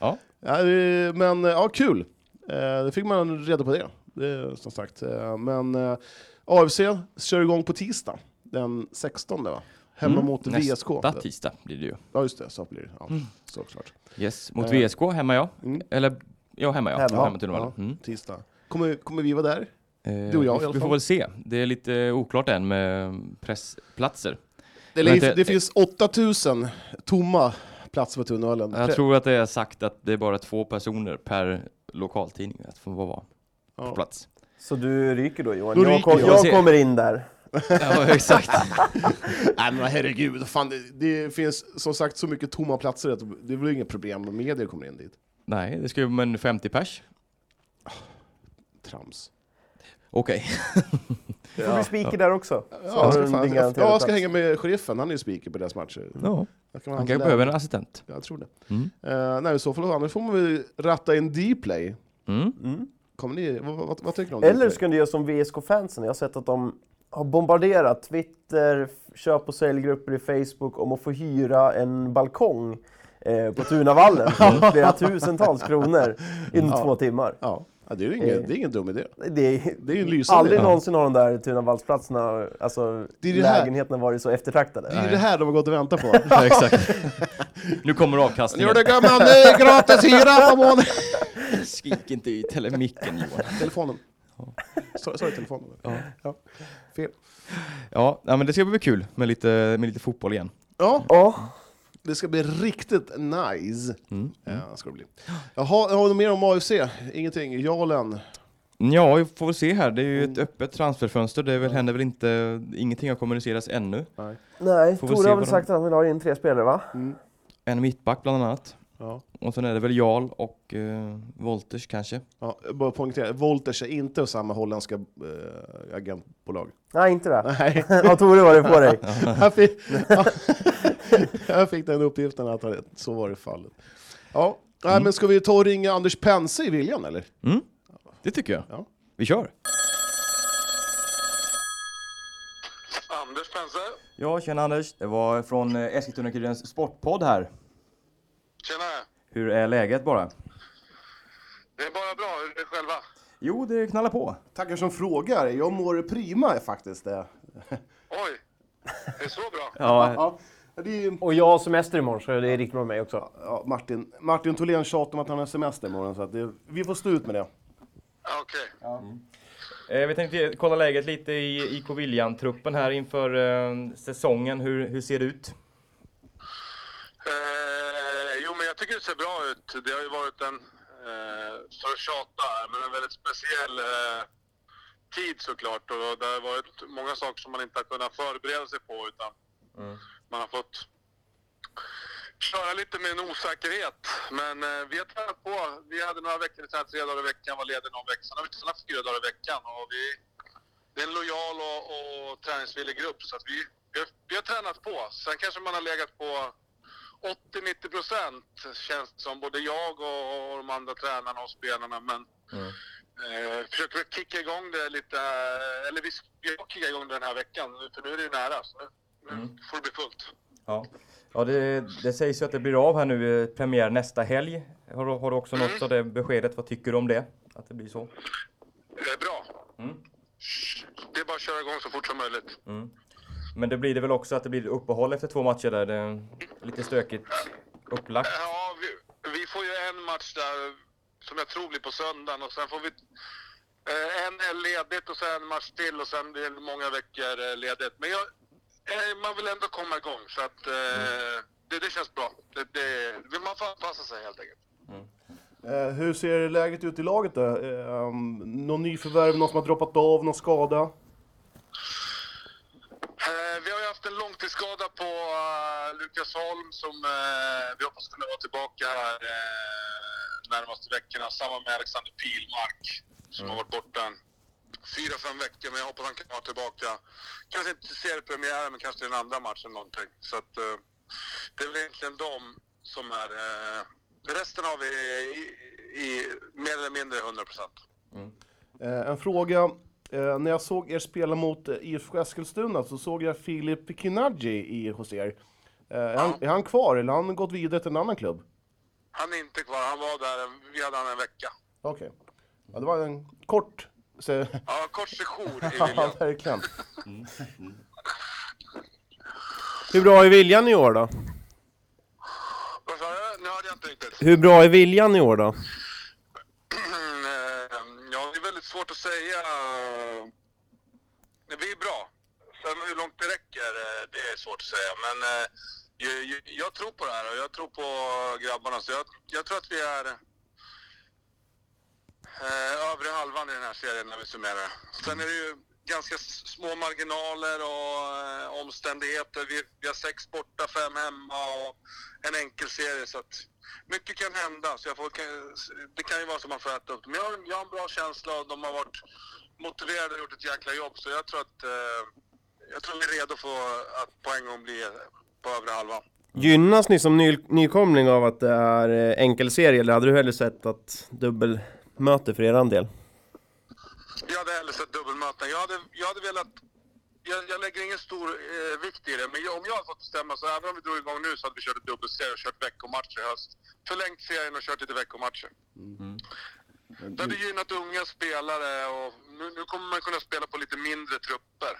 [SPEAKER 1] Ja.
[SPEAKER 2] Ja, eh, men eh, ja, kul. Eh, Då fick man reda på det, det är som sagt. Eh, Men eh, AFC kör igång på tisdag den 16 va? Hemma mot VSK.
[SPEAKER 1] Mm. Nästa tisdag Mm. blir det ju.
[SPEAKER 2] Ja just det, så blir det. Ja, Såklart.
[SPEAKER 1] Yes, mot VSK hemma ja. Eller, ja hemma ja.
[SPEAKER 3] Hemma.
[SPEAKER 1] hemma till
[SPEAKER 2] Ja,
[SPEAKER 1] Norrmalm. mm.
[SPEAKER 2] Tisdag. Kommer, kommer vi vara där?
[SPEAKER 1] Eh,
[SPEAKER 2] Du och jag i
[SPEAKER 1] vi, vi
[SPEAKER 2] alla
[SPEAKER 1] får
[SPEAKER 2] fall.
[SPEAKER 1] väl se. Det är lite oklart än med pressplatser.
[SPEAKER 2] Det, det,
[SPEAKER 1] inte-
[SPEAKER 2] det finns 8000 tomma platser på Tunnelen.
[SPEAKER 1] Jag tror att det är sagt att det är bara två personer per lokaltidning att få vara på
[SPEAKER 2] Ja.
[SPEAKER 1] plats.
[SPEAKER 3] Så du ryker då Johan?
[SPEAKER 2] Då
[SPEAKER 3] jag
[SPEAKER 2] ryker
[SPEAKER 3] kom,
[SPEAKER 2] jag.
[SPEAKER 3] jag
[SPEAKER 1] Se.
[SPEAKER 3] kommer in där.
[SPEAKER 1] Ja, exakt.
[SPEAKER 2] Nej men herregud, fan, det, det finns som sagt så mycket tomma platser att det blir inget problem om medier kommer in dit.
[SPEAKER 1] Nej, det ska ju vara en 50 pers.
[SPEAKER 2] Trams.
[SPEAKER 1] Okej.
[SPEAKER 3] Du får bli speaker där också. Så
[SPEAKER 2] Ja,
[SPEAKER 3] har
[SPEAKER 2] jag
[SPEAKER 3] du
[SPEAKER 2] ska,
[SPEAKER 3] en
[SPEAKER 2] fan, jag,
[SPEAKER 3] garanterad
[SPEAKER 2] jag ska
[SPEAKER 3] plats.
[SPEAKER 2] hänga med sheriffen, han är ju speaker på deras matcher.
[SPEAKER 1] Ja.
[SPEAKER 2] Jag kan
[SPEAKER 1] Han
[SPEAKER 2] handla-
[SPEAKER 1] kanske behöver en assistent.
[SPEAKER 2] Jag tror det.
[SPEAKER 1] Mm.
[SPEAKER 2] Eh, nej, i så fall annars får man väl ratta in D-play.
[SPEAKER 1] Mm.
[SPEAKER 2] Kommer ni, vad, vad, vad tycker ni om
[SPEAKER 3] Eller
[SPEAKER 2] D-play?
[SPEAKER 3] så kan du göra som VSK-fansen. Jag har sett att de har bombarderat Twitter, f- köp och säljgrupper i Facebook om att få hyra en balkong eh, på Tunavallen för flera tusentals kronor inom två timmar.
[SPEAKER 2] Ja, Ja, det, är ju ingen, det är ingen dum idé.
[SPEAKER 3] Det är,
[SPEAKER 2] Det är ju en lysande
[SPEAKER 3] aldrig
[SPEAKER 2] idé.
[SPEAKER 3] någonsin har de där Tunavallsplatserna, alltså
[SPEAKER 2] Det är det här-
[SPEAKER 3] lägenheterna varit så eftertraktade.
[SPEAKER 2] Det är ju det här de har gått och väntat på.
[SPEAKER 1] Ja, exakt. Nu kommer avkastningen.
[SPEAKER 2] gammal, nu är gratis hyra på månaden!
[SPEAKER 1] Skrik inte i tele- micken Johan.
[SPEAKER 2] telefonen. Sorry, sorry telefonen. Ja. Fel.
[SPEAKER 1] Ja, ja, men det ska bli kul med lite, med lite fotboll igen.
[SPEAKER 2] Ja,
[SPEAKER 3] Ja,
[SPEAKER 2] det ska bli riktigt nice.
[SPEAKER 1] Mm.
[SPEAKER 2] Ja, ska det bli. Jaha, har du mer om AFC? Ingenting? Jalen?
[SPEAKER 1] Mm. Ja, vi får väl se här. Det är ju ett öppet transferfönster. Det är väl, händer väl inte, ingenting har kommunicerats ännu.
[SPEAKER 2] Nej.
[SPEAKER 3] nej,
[SPEAKER 1] Får vi
[SPEAKER 3] Tore
[SPEAKER 1] se
[SPEAKER 3] har
[SPEAKER 1] vad
[SPEAKER 3] väl
[SPEAKER 1] de-
[SPEAKER 3] sagt att han vill ha in tre spelare va?
[SPEAKER 2] Mm.
[SPEAKER 1] En mittback bland annat.
[SPEAKER 2] Ja.
[SPEAKER 1] Och sen är det väl Jarl och eh, Wolters kanske.
[SPEAKER 2] Ja, jag bara poängtera, Wolters är inte samma holländska eh, agentbolag.
[SPEAKER 3] Nej, inte det.
[SPEAKER 2] Nej,
[SPEAKER 3] Har Tore varit på dig?
[SPEAKER 2] jag fick, ja, jag fick den uppgiften att han- så var det fallet. Ja. Nej, men ska vi ta och ringa Anders Pense i Viljan eller?
[SPEAKER 1] Det tycker jag.
[SPEAKER 2] Ja.
[SPEAKER 1] Vi kör!
[SPEAKER 5] Anders Spencer.
[SPEAKER 1] Ja, tjena Anders. Det var från Eskilstuna-Kurirens sportpodd här.
[SPEAKER 5] Tjena.
[SPEAKER 1] Hur är läget bara?
[SPEAKER 5] Det är bara bra. Hur är det själva?
[SPEAKER 1] Jo, det knallar på.
[SPEAKER 2] Tackar som frågar. Jag mår prima faktiskt. Det.
[SPEAKER 5] Oj, det är så bra.
[SPEAKER 1] Ja,
[SPEAKER 2] Ja, det är ju
[SPEAKER 3] Och jag har semester imorgon så det är riktigt bra med mig också.
[SPEAKER 2] Ja, Martin, Martin Tholén tjatar om att han har semester imorgon, så att det, vi får stå ut med det.
[SPEAKER 5] Ja, Okej.
[SPEAKER 1] eh, vi tänkte kolla läget lite i IK Viljan-truppen här inför eh, säsongen. Hur, hur ser det ut?
[SPEAKER 5] Eh, jo, men jag tycker det ser bra ut. Det har ju varit en, eh, för att tjata här, men en väldigt speciell eh, tid såklart. Och det har varit många saker som man inte har kunnat förbereda sig på utan man har fått köra lite med en osäkerhet. Men eh, vi har tränat på. Vi hade några veckor, så här, tre dagar i veckan, var ledig någon vecka. Sen har vi tränat fyra dagar i veckan. Och vi, det är en lojal och, och träningsvillig grupp så att vi, vi, har, vi har tränat på. Sen kanske man har legat på 80-90 procent känns det som. Både jag och, och de andra tränarna och spelarna. Men eh, försöker väl kicka igång det lite. eh, Eller vi ska kicka igång det den här veckan. För nu är det ju nära. Så nu får det bli fullt.
[SPEAKER 1] Ja, ja det, det sägs ju att det blir av här nu, eh, premiär nästa helg. Har du, har du också nåtts av det beskedet? Vad tycker du om det? Att det blir så?
[SPEAKER 5] Eh, bra. Det är bara att köra igång så fort som möjligt.
[SPEAKER 1] Men det blir det väl också att det blir uppehåll efter två matcher där det är lite stökigt upplagt.
[SPEAKER 5] Ja, vi, vi får ju en match där som jag tror blir på söndagen och sen får vi eh, en är ledigt och sen en match till och sen blir det många veckor eh, ledigt. Men jag, eh, man vill ändå komma igång så att eh, det, det känns bra. Det, det, vill man får anpassa sig helt enkelt.
[SPEAKER 2] Eh, hur ser läget ut i laget då? Eh, um, någon nyförvärv, någon som har droppat av, någon skada?
[SPEAKER 5] Eh, vi har ju haft en långtidsskada på eh, Lukas Holm som eh, vi hoppas kunna vara tillbaka här eh, närmaste veckorna. Samma med Alexander Pilmark som har varit borta en fyra, fem veckor. Men jag hoppas han kan vara tillbaka. Kanske inte till seriepremiären men kanske till den andra matchen någonting. Så att, eh, det är väl egentligen de som är... Eh, resten har vi i, i mer eller mindre 100 procent.
[SPEAKER 2] Eh, en fråga. Eh, när jag såg er spela mot eh, IFK Eskilstuna så såg jag Filip Kinaggi i, hos er. Eh, är, han, är han kvar eller har han gått vidare till en annan klubb?
[SPEAKER 5] Han är inte kvar. Han var där, en- vi hade han en vecka.
[SPEAKER 2] Okej. Ja, det var en kort... Se,
[SPEAKER 5] Ja, kort session i
[SPEAKER 2] ja,
[SPEAKER 5] Viljan.
[SPEAKER 2] verkligen.
[SPEAKER 3] Hur bra är viljan i år då?
[SPEAKER 5] Vad sa du? Nu hörde jag inte riktigt.
[SPEAKER 3] Hur bra är viljan i år då?
[SPEAKER 5] Eh, Ja, det är väldigt svårt att säga. Vi är bra. Sen hur långt det räcker, eh, det är svårt att säga. Men eh, jag, jag- jag tror på det här och jag tror på grabbarna. Så jag, jag tror att vi är eh, övre halvan i den här serien när vi summerar. Sen är det ju ganska s- små marginaler och eh, omständigheter. Vi, vi har sex borta, fem hemma och en enkel serie. Så att mycket kan hända. Så jag får, kan- det kan ju vara så man får äta upp det. Men jag, har- jag har en bra känsla och de har varit motiverade och gjort ett jäkla jobb. Så jag tror att eh, jag tror vi är redo för att på en gång bli på övre halvan.
[SPEAKER 6] Gynnas ni som ny, nykomling av att det är eh, enkelserie eller hade du hellre sett att dubbelmöte för er del?
[SPEAKER 5] Jag hade hellre sett dubbelmöten. Jag hade, jag hade velat... Jag, jag lägger ingen stor eh, vikt i det, men jag, om jag hade fått bestämma så även om vi drog igång nu så hade vi kört ett dubbelserie och kört veckomatcher i höst. Förlängt serien och kört lite veckomatcher. Det hade gynnat unga spelare och nu, nu kommer man kunna spela på lite mindre trupper.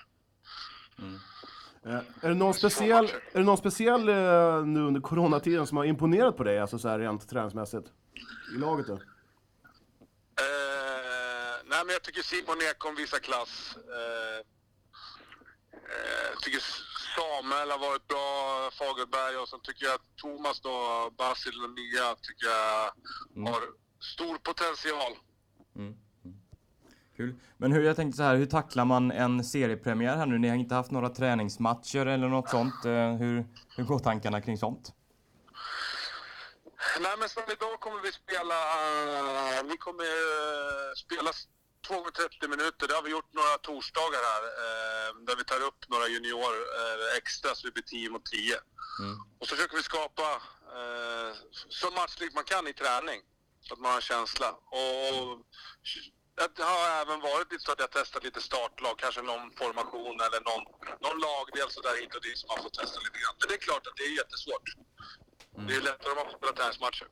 [SPEAKER 2] Eh, Är det någon speciell, är det någon speciell eh, nu under coronatiden som har imponerat på dig, alltså så här rent träningsmässigt? I laget då?
[SPEAKER 5] Eh, nej, men jag tycker Simon Ekholm visar klass. Eh, eh, tycker Samuel har varit bra, Fagerberg och sen tycker jag att Thomas då, Basil och Nia, tycker jag har stor potential.
[SPEAKER 1] Kul. Men hur, jag tänkte så här, hur tacklar man en seriepremiär här nu? Ni har inte haft några träningsmatcher eller något sånt. Eh, Hur, hur går tankarna kring sånt?
[SPEAKER 5] Nej, men sen idag kommer vi spela... eh, Vi kommer eh, spela 2 gånger 30 minuter. Det har vi gjort några torsdagar här. eh, Där vi tar upp några juniorer eh, extra så vi blir 10 mot 10. Och så försöker vi skapa eh, så matchligt man kan i träning. Så att man har en känsla. Och det har även varit lite så att jag testat lite startlag. Kanske någon formation eller någon, någon lagdel så där hit och dit som man får testa lite grann. Men det är klart att det är jättesvårt. Det är lättare om man får spela träningsmatcher.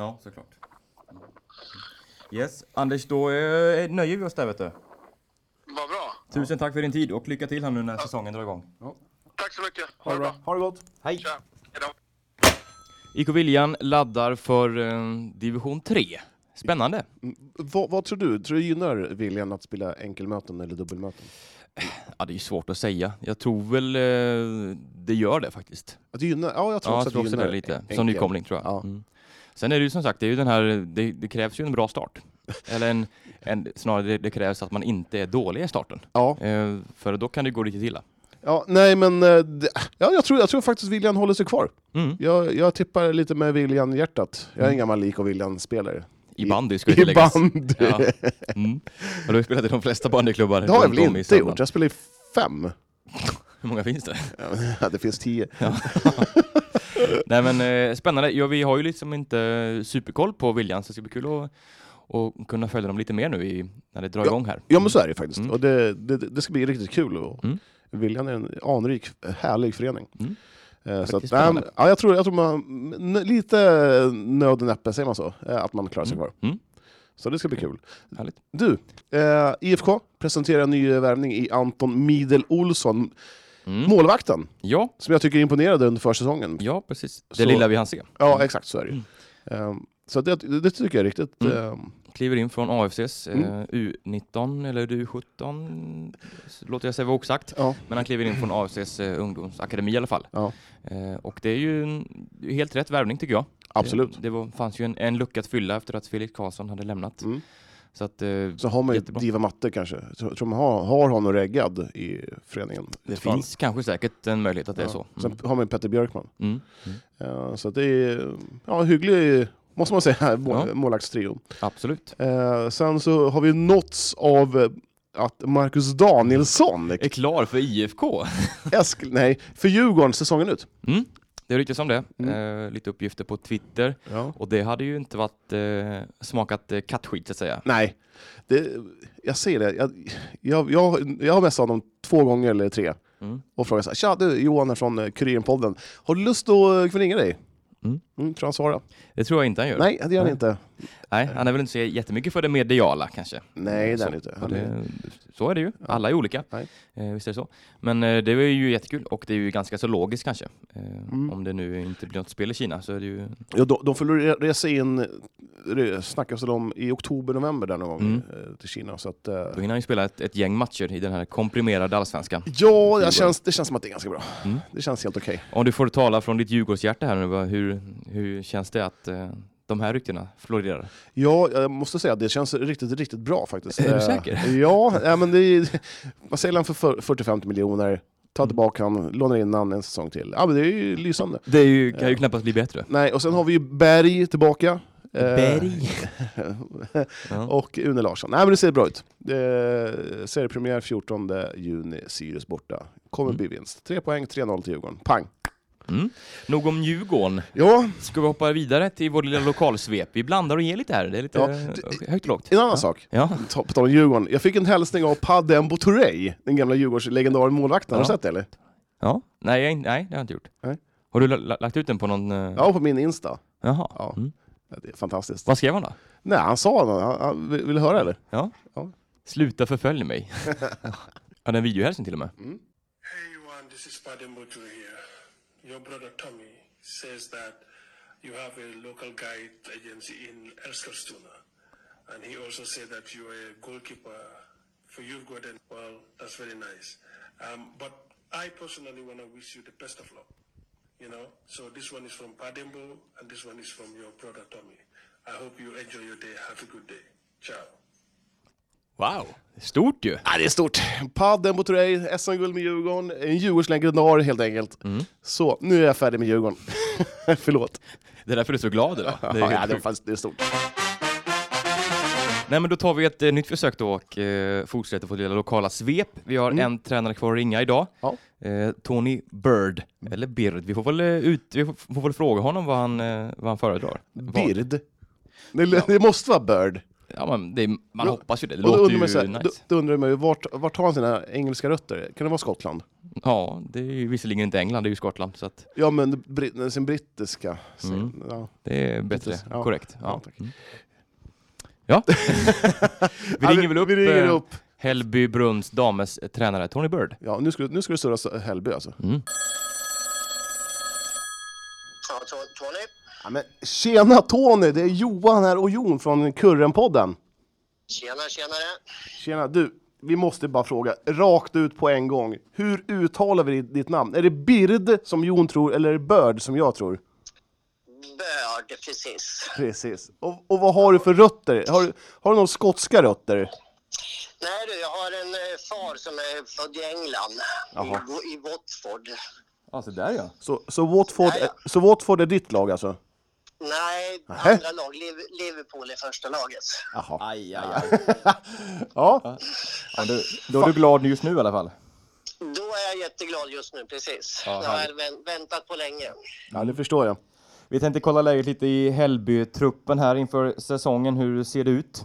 [SPEAKER 1] Ja, såklart. Yes, Anders, då eh, nöjer vi oss där vet du.
[SPEAKER 5] Vad bra.
[SPEAKER 1] Tusen tack för din tid och lycka till här nu när säsongen drar igång.
[SPEAKER 5] Tack så mycket. Ha, det bra.
[SPEAKER 2] Ha det gott!
[SPEAKER 5] Tja. Hej då.
[SPEAKER 1] IK Viljan laddar för eh, division 3. Spännande.
[SPEAKER 2] Vad, vad tror du? Tror du gynnar viljan att spela enkelmöten eller dubbelmöten?
[SPEAKER 1] Ja, det är ju svårt att säga. Jag tror väl eh, det gör det faktiskt.
[SPEAKER 2] Att det gynnar? Ja, jag tror
[SPEAKER 1] Ja, jag
[SPEAKER 2] också att
[SPEAKER 1] tror
[SPEAKER 2] det
[SPEAKER 1] också
[SPEAKER 2] gynnar
[SPEAKER 1] det lite.
[SPEAKER 2] en-
[SPEAKER 1] Som
[SPEAKER 2] enkel.
[SPEAKER 1] nykomling tror jag.
[SPEAKER 2] Ja.
[SPEAKER 1] Mm. Sen är det ju som sagt, det, är ju den här, det, det krävs ju en bra start. Eller en, en, snarare det, det krävs att man inte är dålig i starten.
[SPEAKER 2] Ja,
[SPEAKER 1] Eh, för då kan det gå riktigt illa.
[SPEAKER 2] ja nej men eh, det, ja, jag, tror, jag tror faktiskt viljan håller sig kvar.
[SPEAKER 1] Mm.
[SPEAKER 2] Jag, jag tippar lite med viljan-hjärtat. Jag är en gammal lik och viljan-spelare.
[SPEAKER 1] I
[SPEAKER 2] I-
[SPEAKER 1] bandy Mm. ska
[SPEAKER 2] I
[SPEAKER 1] tilläggas.
[SPEAKER 2] bandy!
[SPEAKER 1] Ja. Mm. Och du har ju spelat i de flesta bandyklubbar.
[SPEAKER 2] Det har jag
[SPEAKER 1] runt
[SPEAKER 2] väl
[SPEAKER 1] om i
[SPEAKER 2] inte
[SPEAKER 1] Sörmland.
[SPEAKER 2] gjort? Jag spelar i fem.
[SPEAKER 1] Hur många finns det?
[SPEAKER 2] Ja, det finns tio.
[SPEAKER 1] Nej men eh, spännande. Ja, vi har ju liksom inte superkoll på Viljan så det ska bli kul att och kunna följa dem lite mer nu i, när det drar
[SPEAKER 2] Ja.
[SPEAKER 1] igång här.
[SPEAKER 2] Ja men så är det faktiskt.
[SPEAKER 1] Mm.
[SPEAKER 2] Och det, det, det ska bli riktigt kul. Och
[SPEAKER 1] Mm.
[SPEAKER 2] Viljan är en anrik, härlig förening.
[SPEAKER 1] Mm.
[SPEAKER 2] Eh, Så
[SPEAKER 1] Riktigt
[SPEAKER 2] att, nej,
[SPEAKER 1] spännande.
[SPEAKER 2] men, ja, jag tror, jag tror man, n- lite nöd och näppe, säger man så? Eh, Att man klarar sig kvar.
[SPEAKER 1] Mm.
[SPEAKER 2] Så det ska bli kul.
[SPEAKER 1] Härligt.
[SPEAKER 2] Du, eh, IFK presenterar en ny värvning i Anton Midel Olsson,
[SPEAKER 1] Mm.
[SPEAKER 2] målvakten,
[SPEAKER 1] Ja,
[SPEAKER 2] som jag tycker imponerade under försäsongen.
[SPEAKER 1] ja precis. Det
[SPEAKER 2] Så-
[SPEAKER 1] lilla vi hann se.
[SPEAKER 2] Ja, exakt så är det ju. Eh, Så det, det tycker jag är riktigt...
[SPEAKER 1] Mm.
[SPEAKER 2] eh,
[SPEAKER 1] Kliver in från AFCs eh,
[SPEAKER 2] Mm.
[SPEAKER 1] U19 eller U17, s- låter jag säga vara osagt.
[SPEAKER 2] Ja.
[SPEAKER 1] Men han kliver in från AFCs eh, ungdomsakademi i alla fall.
[SPEAKER 2] Ja.
[SPEAKER 1] Eh, och det är ju en, det är ju helt rätt värvning tycker jag.
[SPEAKER 2] Absolut.
[SPEAKER 1] Det, det var, fanns ju en, en lucka att fylla efter att Felix Karlsson hade lämnat.
[SPEAKER 2] Mm.
[SPEAKER 1] Så att, eh,
[SPEAKER 2] Så har man ju
[SPEAKER 1] Jättebra.
[SPEAKER 2] Diva Matte kanske. Jag tror tror man har, har honom reggad i föreningen.
[SPEAKER 1] det finns kanske säkert en möjlighet att det är så.
[SPEAKER 2] Sen
[SPEAKER 1] Mm.
[SPEAKER 2] har man ju Petter Björkman.
[SPEAKER 1] Mm.
[SPEAKER 2] Eh, så att det är ja, hygglig, måste man säga, må,
[SPEAKER 1] Ja.
[SPEAKER 2] målvaktstrio.
[SPEAKER 1] Absolut.
[SPEAKER 2] Eh, sen så har vi nåtts av eh, att Marcus Danielsson,
[SPEAKER 1] Är klar för IFK.
[SPEAKER 2] Eskil, nej, för Djurgården säsongen ut.
[SPEAKER 1] Mm. Det ryktas om det.
[SPEAKER 2] Mm.
[SPEAKER 1] Eh, lite uppgifter på Twitter. Och det hade ju inte varit eh, smakat eh, kattskit så att säga.
[SPEAKER 2] Nej, det, jag säger det, jag, jag, jag, jag har messat honom två gånger eller tre
[SPEAKER 1] Mm.
[SPEAKER 2] och frågat så här, tja du Johan här från eh, Kurirenpodden, har du lust att eh, kunna ringa dig?
[SPEAKER 1] Mm.
[SPEAKER 2] tror han svarade.
[SPEAKER 1] Det tror jag inte han gör.
[SPEAKER 2] Nej, det gör han
[SPEAKER 1] Nej.
[SPEAKER 2] inte.
[SPEAKER 1] Nej, han är väl inte så jättemycket för det mediala kanske.
[SPEAKER 2] Nej, det är han
[SPEAKER 1] Så.
[SPEAKER 2] inte.
[SPEAKER 1] Och
[SPEAKER 2] Han är,
[SPEAKER 1] det, så är det ju. Alla är olika.
[SPEAKER 2] Nej.
[SPEAKER 1] Eh, visst är det så. Men eh, det är ju jättekul och det är ju ganska så logiskt kanske. Eh,
[SPEAKER 2] Mm.
[SPEAKER 1] Om det nu inte blir något spel i Kina så är det ju...
[SPEAKER 2] ja, de, de får re- resa in, re- snackas det om, i oktober, november där någon gång
[SPEAKER 1] Mm.
[SPEAKER 2] eh, till Kina. Så att, eh,
[SPEAKER 1] Då hinner han ju spela ett, ett gäng matcher i den här komprimerade allsvenskan.
[SPEAKER 2] ja, det känns, det känns som att det är ganska bra.
[SPEAKER 1] Mm.
[SPEAKER 2] Det känns helt okej.
[SPEAKER 1] Om du får tala från ditt Djurgårdshjärta här nu, vad- hur, hur känns det att eh, de här ryktena florerar?
[SPEAKER 2] Ja, jag måste säga att det känns riktigt, riktigt bra faktiskt.
[SPEAKER 1] Är du
[SPEAKER 2] Eh,
[SPEAKER 1] säker?
[SPEAKER 2] Ja, ja men det är, vad säger han för 40-50 miljoner?
[SPEAKER 1] Mm.
[SPEAKER 2] Ta tillbaka han, lånar in han en säsong till. Ja, men det är ju lysande.
[SPEAKER 1] Det kan ju knappast bli bättre.
[SPEAKER 2] Nej, och sen har vi ju Berg tillbaka. Eh,
[SPEAKER 1] Berg. Ja.
[SPEAKER 2] och Une Larsson. Nej men det ser bra ut. Det är seriepremiär 14 juni, Sirius borta. Kommer bli vinst. Tre poäng, 3-0 till Djurgården. Pang!
[SPEAKER 1] Mm. Nog om Djurgården.
[SPEAKER 2] Ja,
[SPEAKER 1] Ska vi hoppa vidare till vår lilla lokalsvep? Vi blandar och ger lite här. Det är lite
[SPEAKER 2] Ja,
[SPEAKER 1] eh, högt och lågt.
[SPEAKER 2] en annan
[SPEAKER 1] ja.
[SPEAKER 2] sak.
[SPEAKER 1] Ja.
[SPEAKER 2] Ta- På tal om Djurgården. Jag fick en hälsning av Padde Mbotourey, den gamla Djurgårdslegendaren målvakten. Har du
[SPEAKER 1] Ja.
[SPEAKER 2] sett det eller?
[SPEAKER 1] ja. Nej, jag, nej, det har jag inte gjort.
[SPEAKER 2] Nej.
[SPEAKER 1] Har du la- la- lagt ut den på någon... eh,
[SPEAKER 2] Ja, på min Insta.
[SPEAKER 1] Jaha.
[SPEAKER 2] Ja.
[SPEAKER 1] Mm.
[SPEAKER 2] Det är fantastiskt.
[SPEAKER 1] Vad skrev han då?
[SPEAKER 2] Nej, han sa något. Han, han, vill vill du höra eller?
[SPEAKER 1] Ja.
[SPEAKER 2] Ja.
[SPEAKER 1] Sluta förfölj mig. ja, den videohälsning till och med.
[SPEAKER 7] Hey Yuan, this is Padimbutu here. Your brother Tommy says that you have a local guide agency in Eskilstuna. And he also said that you are a goalkeeper for you've got an well, that's very nice. Um, but I personally wanna wish you the best of luck. You know? So this one is from Padimbu and this one is from your brother Tommy. I hope you enjoy your day. Have a good day. Ciao.
[SPEAKER 1] Wow! Stort ju!
[SPEAKER 2] Ja, det är stort. Padden mot Ray, SM-guld med Djurgården, en Djurgårdslegendar helt enkelt.
[SPEAKER 1] Mm.
[SPEAKER 2] Så, nu är jag färdig med Djurgården. Förlåt.
[SPEAKER 1] Det är därför du är så glad idag. Det är
[SPEAKER 2] ja,
[SPEAKER 1] helt
[SPEAKER 2] ja, det, är
[SPEAKER 1] sjukt.
[SPEAKER 2] faktiskt- det är stort.
[SPEAKER 1] Nej men då tar vi ett eh, nytt försök då och eh, fortsätter på det lilla lokala svep. Vi har
[SPEAKER 2] Mm.
[SPEAKER 1] en tränare kvar att ringa idag.
[SPEAKER 2] Ja.
[SPEAKER 1] Eh, Tony Bird, eller Bird. Vi får väl, eh, ut, vi får, får väl fråga honom vad han, eh, vad han föredrar. Vad-
[SPEAKER 2] Bird. Det, det måste vara Bird.
[SPEAKER 1] Ja, men det, är- man
[SPEAKER 2] Då-
[SPEAKER 1] hoppas ju det. Det
[SPEAKER 2] Och då
[SPEAKER 1] låter
[SPEAKER 2] undrar
[SPEAKER 1] ju
[SPEAKER 2] man så här,
[SPEAKER 1] nice.
[SPEAKER 2] då, då undrar man ju, vart, vart har han sina engelska rötter? Kan det vara Skottland?
[SPEAKER 1] Ja, det är ju visserligen inte England, det är ju Skottland. Så att
[SPEAKER 2] Ja, men brit, sin brittiska. sin-
[SPEAKER 1] Mm.
[SPEAKER 2] Ja.
[SPEAKER 1] det är bättre.
[SPEAKER 2] Precis, ja.
[SPEAKER 1] Korrekt.
[SPEAKER 2] Ja,
[SPEAKER 1] Ja.
[SPEAKER 2] tack.
[SPEAKER 1] Mm. ja. vi ringer väl upp,
[SPEAKER 2] Vi ringer
[SPEAKER 1] eh,
[SPEAKER 2] upp.
[SPEAKER 1] Hällby Brunns dames eh, tränare Tony Bird.
[SPEAKER 2] Ja, nu ska, du- nu ska du surra så- Hällby alltså.
[SPEAKER 4] Ja, To- Tony?
[SPEAKER 2] Ja, men, tjena Tony, det är Johan här och Jon från Kurrenpodden.
[SPEAKER 4] Tjena, tjenare.
[SPEAKER 2] Tjena, du. Vi måste bara fråga, rakt ut på en gång. Hur uttalar vi ditt namn? Är det Bird som Jon tror, eller är det Bird som jag tror?
[SPEAKER 4] Börd, precis.
[SPEAKER 2] Precis. Och, och vad har du för rötter? Har, du- har du några skotska rötter?
[SPEAKER 4] Nej du, jag har en eh, far som är född i England,
[SPEAKER 2] Jaha.
[SPEAKER 4] i, i Watford.
[SPEAKER 1] Ja, så där ja.
[SPEAKER 2] Så, så, Watford,
[SPEAKER 4] Ja,
[SPEAKER 2] så Watford är ditt lag alltså?
[SPEAKER 4] Nej,
[SPEAKER 2] Nähä.
[SPEAKER 4] andra lag. Liv- Liverpool är första laget.
[SPEAKER 2] Jaha.
[SPEAKER 1] Aj, aj, aj.
[SPEAKER 2] Ja.
[SPEAKER 1] Ja, du, då är du glad just nu i alla fall.
[SPEAKER 4] Då är jag jätteglad just nu, precis.
[SPEAKER 1] Ja,
[SPEAKER 4] jag har vä- väntat på länge.
[SPEAKER 2] ja, det förstår jag.
[SPEAKER 1] Vi tänkte kolla läget lite i Hällby-truppen här inför säsongen. Hur ser det ut?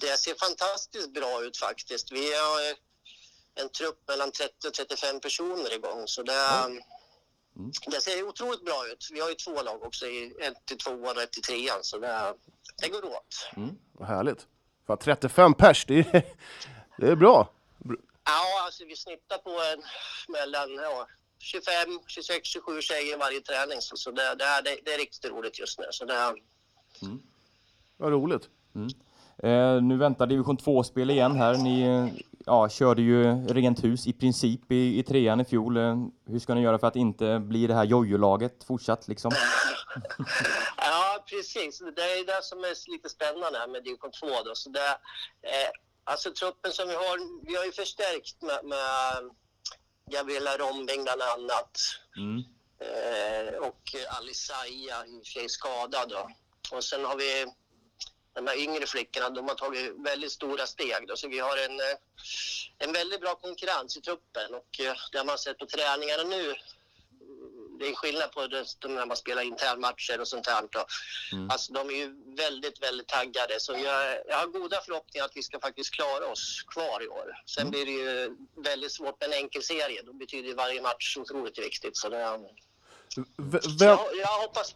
[SPEAKER 4] Det ser fantastiskt bra ut faktiskt. Vi har eh, en trupp mellan 30 och 35 personer igång, så det, det ser otroligt bra ut. Vi har ju två lag också, i- ett till tvåan och ett till trean, så det, det går åt.
[SPEAKER 2] Vad härligt. Fan, 35 pers, det är, det är bra.
[SPEAKER 4] Ja, alltså vi snittar på en, mellan ja, 25, 26, 27 tjejer varje träning. Så, så det, det, här, det, det är riktigt roligt just nu. Så det,
[SPEAKER 2] Vad roligt.
[SPEAKER 1] Eh, nu väntar division 2-spel igen här. Ni eh, ja, körde ju rent hus i princip i, i trean i fjol. Eh, hur ska ni göra för att inte bli det här jojo-laget fortsatt liksom?
[SPEAKER 4] ja, precis. Det är det som är lite spännande här med division 2. Då. Så det, eh, alltså truppen som vi har, vi har ju förstärkt med, med Gabriella Rombing bland annat.
[SPEAKER 1] Mm.
[SPEAKER 4] Eh, och Alisaia, i och för sig skadad. Då. Och sen har vi de här yngre flickorna, de har tagit väldigt stora steg. Då, så vi har en, eh, en väldigt bra konkurrens i truppen och eh, det har man sett på träningarna nu. mm, Det är skillnad på det, de när man spelar internmatcher och sånt här. Då. Alltså, de är ju väldigt, väldigt taggade. Så jag, jag har goda förhoppningar att vi ska faktiskt klara oss kvar i år. Sen blir det ju väldigt svårt med en enkel serie. Då betyder ju varje match otroligt viktigt. Så det,
[SPEAKER 2] V- vem,
[SPEAKER 4] jag, jag hoppas...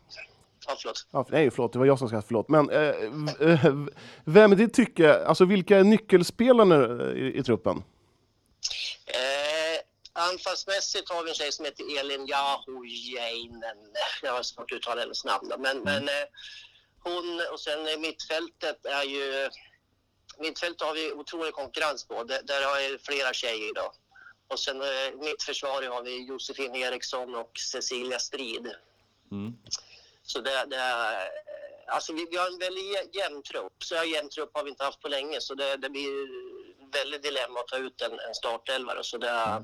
[SPEAKER 4] Ja, förlåt.
[SPEAKER 2] ja, nej, förlåt, det var jag som ska förlåt. Men eh, v- eh, v- vem är ditt tycke, alltså vilka är nyckelspelarna eh, i, i truppen?
[SPEAKER 4] Eh, anfallsmässigt har vi en tjej som heter Elin Jahojainen. Jag har svårt att uttala hennes namn. då, Men, men eh, hon och sen i mittfältet är ju... Mittfältet har vi otrolig konkurrens på. Där, där har jag flera tjejer idag. Och sen eh, mittförsvar har vi Josefin Eriksson och Cecilia Strid.
[SPEAKER 1] Mm.
[SPEAKER 4] Så det, det är... Alltså vi, vi har en väldigt jä- jämn trupp. Så här jämn trupp har vi inte haft på länge. Så det, det blir väldigt dilemma att ta ut en, en startelva. då. Så det,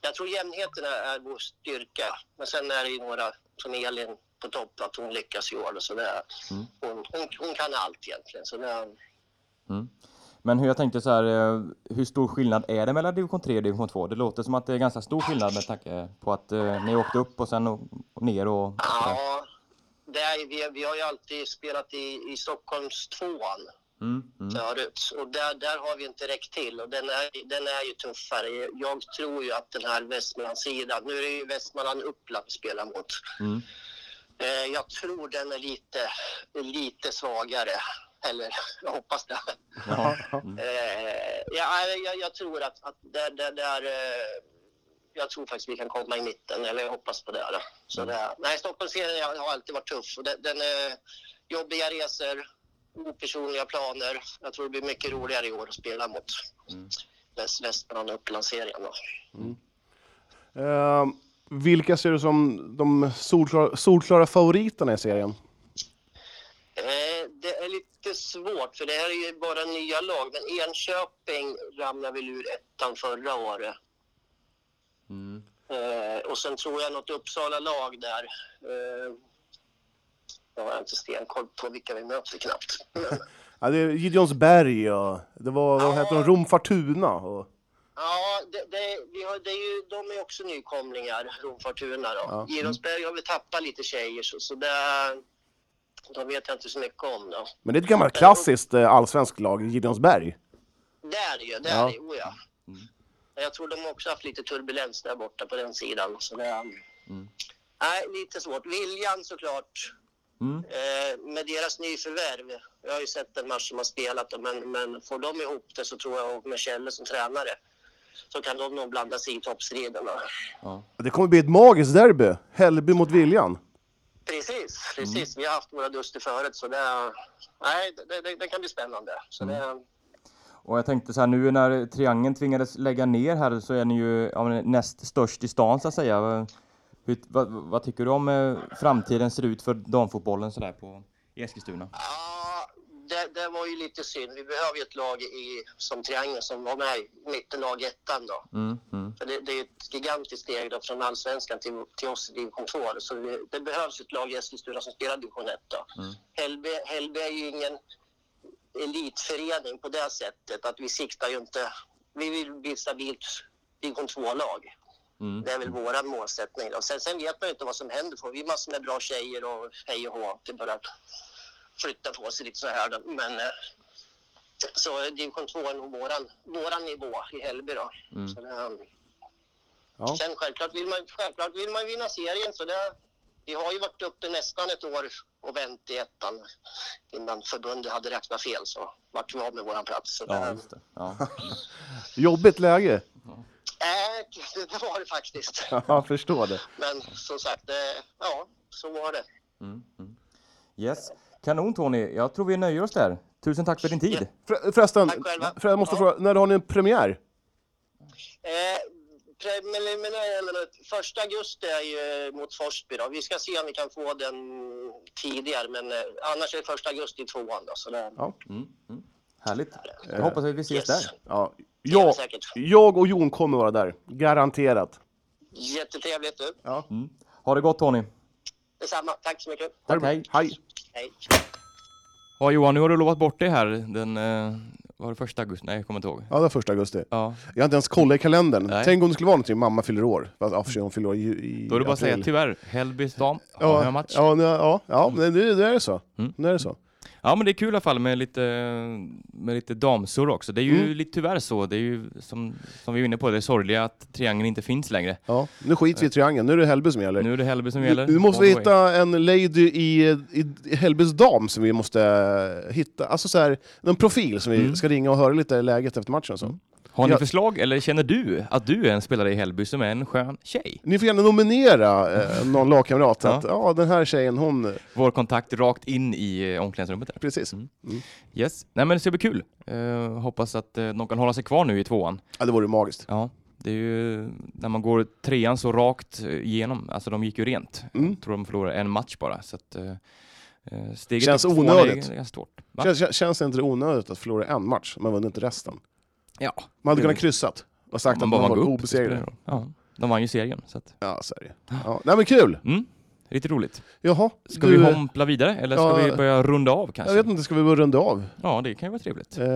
[SPEAKER 4] Jag tror jämnheten är, är vår styrka. Men sen är det ju några, som Elin på topp, att hon lyckas i år. då. Så det, hon, hon, hon kan allt egentligen. Så det,
[SPEAKER 1] Mm. Men hur jag tänkte så här, eh, hur stor skillnad är det mellan division 3 och division 2? Det låter som att det är ganska stor skillnad med tanke på att eh, ni åkte upp och sen och, och ner och...
[SPEAKER 4] ja, det är, vi, vi har ju alltid spelat i, i Stockholms tvåan.
[SPEAKER 1] Mm, mm.
[SPEAKER 4] förut. Och där, där har vi inte räckt till och den är, den är ju tuffare. Jag tror ju att den här Västmanlandssidan, nu är det ju Västmanland Uppland vi spelar mot.
[SPEAKER 1] Mm.
[SPEAKER 4] Eh, Jag tror den är lite, lite svagare. Eller jag hoppas det. Eh, ja, jag, jag tror att, att där, där, där, eh, jag tror faktiskt vi kan komma i mitten, eller jag hoppas på det. Då. Så
[SPEAKER 1] Mm.
[SPEAKER 4] det nej, Stockholmsserien har alltid varit tuff. Och Den, den är jobbiga resor, opersonliga planer. Jag tror det blir mycket roligare i år att spela mot Väst, Västmanland och Upplandsserien. Då.
[SPEAKER 2] Eh, vilka ser du som de solklara, solklara favoriterna i serien?
[SPEAKER 4] Eh, Det är lite svårt, för det här är ju bara nya lag. Men Enköping ramlade väl ur ettan förra året.
[SPEAKER 1] mm.
[SPEAKER 4] Eh, och sen tror jag något Uppsala-lag där. Eh, jag har inte stenkoll på vilka vi möter knappt.
[SPEAKER 2] Ja, det är Gideonsberg och det var, vad heter de, Rom Fortuna och...
[SPEAKER 4] Ja, det, det, vi har, det är ju, de är också nykomlingar, Rom Fortuna. Då.
[SPEAKER 2] Ja.
[SPEAKER 4] Gironsberg har väl tappat lite tjejer, så, så det, de vet jag inte så mycket om. Då.
[SPEAKER 2] Men det är ett gammalt klassiskt eh, allsvenskt lag, Gideonsberg.
[SPEAKER 4] Det är det ju, det är
[SPEAKER 2] Ja. Mm.
[SPEAKER 4] det ju, oh ja. Men Jag tror de har också haft lite turbulens där borta på den sidan. Så det,
[SPEAKER 2] Mm.
[SPEAKER 4] Nej, lite svårt. Viljan såklart.
[SPEAKER 2] Mm.
[SPEAKER 4] Eh, med deras nyförvärv. Jag har ju sett en match som har spelat då, men, men får de ihop det så tror jag, och med Kjelle som tränare, så kan de nog blanda sig i toppstriden. då.
[SPEAKER 2] Det kommer bli ett magiskt derby, Hällby mot Viljan.
[SPEAKER 4] Precis, precis.
[SPEAKER 1] Mm.
[SPEAKER 4] Vi har haft våra duster förut så det, nej, det, det, det kan bli spännande. Så
[SPEAKER 1] Mm.
[SPEAKER 4] det,
[SPEAKER 1] Och jag tänkte så här nu när Triangeln tvingades lägga ner här så är ni ju ja, men näst störst i stan så att säga. Hur, vad, vad tycker du om eh, framtiden ser ut för damfotbollen sådär på i Eskilstuna?
[SPEAKER 4] Ja, det, det var ju lite synd. Vi behöver ju ett lag i, som Triangeln som var med i mittenlag ettan då.
[SPEAKER 1] Mm, mm.
[SPEAKER 4] För det, det är ju ett gigantiskt steg då från allsvenskan till, till oss i division 2. Så det, det behövs ett lag i Eskilstuna som spelar division 1 då.
[SPEAKER 1] Mm.
[SPEAKER 4] Hällby Hällby är ju ingen elitförening på det sättet att vi siktar ju inte... Vi vill bli ett stabilt division 2-lag.
[SPEAKER 1] Mm.
[SPEAKER 4] Det är väl våran målsättning. Då. Sen, sen vet man ju inte vad som händer. Får vi massor med bra tjejer och hej och hå. Det börjar flytta på sig lite så här. Då. Men, eh, så eh, division 2 är nog våran, våran nivå i Hällby då.
[SPEAKER 1] Mm.
[SPEAKER 4] Så det, eh,
[SPEAKER 2] Ja.
[SPEAKER 4] Sen självklart vill, man, självklart vill man vinna serien. Så det, vi har ju varit uppe nästan ett år och vänt i ettan innan förbundet hade räknat fel så vart vi av med våran plats. Så det,
[SPEAKER 1] Ja, just det. Ja.
[SPEAKER 2] Jobbigt läge.
[SPEAKER 4] eh, det, det var det faktiskt.
[SPEAKER 2] Ja, förstår det.
[SPEAKER 4] Men som sagt, eh, ja, så var det.
[SPEAKER 1] Yes. Kanon Tony, jag tror vi nöjer oss där. Tusen tack för din tid.
[SPEAKER 2] För, förresten,
[SPEAKER 4] Tack själva.
[SPEAKER 2] för jag måste
[SPEAKER 4] Ja.
[SPEAKER 2] fråga, när har ni en premiär?
[SPEAKER 4] Eh, preliminär, eller första augusti är ju mot Forsby då. Vi ska se om vi kan få den tidigare, men eh, annars är det första augusti i tvåan då. Så det,
[SPEAKER 2] Ja.
[SPEAKER 1] Härligt. Jag hoppas att vi ses
[SPEAKER 4] yes.
[SPEAKER 1] där.
[SPEAKER 2] Ja.
[SPEAKER 4] är
[SPEAKER 2] Jag,
[SPEAKER 4] det säkert.
[SPEAKER 2] jag och Jon kommer vara där, garanterat.
[SPEAKER 4] Jättetrevligt du.
[SPEAKER 1] Ha det gott Tony.
[SPEAKER 4] Detsamma. Tack så mycket.
[SPEAKER 1] Tack, hej.
[SPEAKER 2] Hej.
[SPEAKER 4] Hej.
[SPEAKER 1] Ja Johan, nu har du lovat bort det här den, eh, var det första augusti? Nej, jag kommer inte ihåg.
[SPEAKER 2] Ja, det var första augusti.
[SPEAKER 1] Ja,
[SPEAKER 2] Jag har inte ens kollat i kalendern.
[SPEAKER 1] Nej.
[SPEAKER 2] Tänk om det skulle vara någonting, mamma fyller år. Fast, ja, för sig, hon fyller år i, i
[SPEAKER 1] då är det bara att säga
[SPEAKER 2] april.
[SPEAKER 1] tyvärr, Hällbys dam har
[SPEAKER 2] Ja,
[SPEAKER 1] jag match. Mm.
[SPEAKER 2] ja, nu- ja, ja men nu, nu är det så. Nu är det så.
[SPEAKER 1] Ja men det är kul i alla fall med lite, med lite damsor också. Det är
[SPEAKER 2] Mm.
[SPEAKER 1] ju lite tyvärr så, det är ju som, som vi var inne på, det är sorgliga att triangeln inte finns längre.
[SPEAKER 2] Ja, nu skiter vi i triangeln, nu är det Hällby som gäller.
[SPEAKER 1] Nu är det Hällby som
[SPEAKER 2] Nu,
[SPEAKER 1] gäller.
[SPEAKER 2] nu måste
[SPEAKER 1] All
[SPEAKER 2] vi
[SPEAKER 1] the way.
[SPEAKER 2] hitta en lady i, i, i Hällbys dam som vi måste eh, hitta. Alltså så här, en profil som vi
[SPEAKER 1] Mm.
[SPEAKER 2] ska ringa och höra lite läget efter matchen och så.
[SPEAKER 1] Har ni
[SPEAKER 2] Ja.
[SPEAKER 1] förslag, eller känner du att du är en spelare i Hällby som är en skön tjej?
[SPEAKER 2] Ni får gärna nominera eh, någon lagkamrat.
[SPEAKER 1] Ja.
[SPEAKER 2] Att, ja, den här tjejen, hon...
[SPEAKER 1] Vår kontakt rakt in i eh, omklädningsrummet där.
[SPEAKER 2] Precis.
[SPEAKER 1] Yes, nej men det ska bli kul. Eh, hoppas att eh, de kan hålla sig kvar nu i tvåan.
[SPEAKER 2] Ja, det vore magiskt.
[SPEAKER 1] Ja, det är ju när man går trean så rakt eh, igenom, alltså de gick ju rent.
[SPEAKER 2] Mm.
[SPEAKER 1] Jag tror de förlorade en match bara, så att eh, eh, steget
[SPEAKER 2] Känns
[SPEAKER 1] upp till tvåan är
[SPEAKER 2] onödigt.
[SPEAKER 1] ganska svårt. Va?
[SPEAKER 2] Känns, kän- känns det inte onödigt att förlora en match, man vann inte resten?
[SPEAKER 1] Ja,
[SPEAKER 2] Man hade
[SPEAKER 1] Det-
[SPEAKER 2] kunnat kryssat och sagt
[SPEAKER 1] man
[SPEAKER 2] att
[SPEAKER 1] bara
[SPEAKER 2] man
[SPEAKER 1] vann
[SPEAKER 2] var
[SPEAKER 1] upp. det spelar ingen
[SPEAKER 2] obesegrade.
[SPEAKER 1] roll. Ja, de vann ju serien, så att,
[SPEAKER 2] Ja, så är det. Ja. Nej men kul!
[SPEAKER 1] mm, riktigt roligt.
[SPEAKER 2] Jaha,
[SPEAKER 1] Ska
[SPEAKER 2] du,
[SPEAKER 1] vi hompla vidare eller ska
[SPEAKER 2] Ja.
[SPEAKER 1] vi börja runda av
[SPEAKER 2] jag
[SPEAKER 1] kanske?
[SPEAKER 2] vet inte, ska vi börja runda av?
[SPEAKER 1] Ja, det kan ju vara trevligt.
[SPEAKER 2] Eh,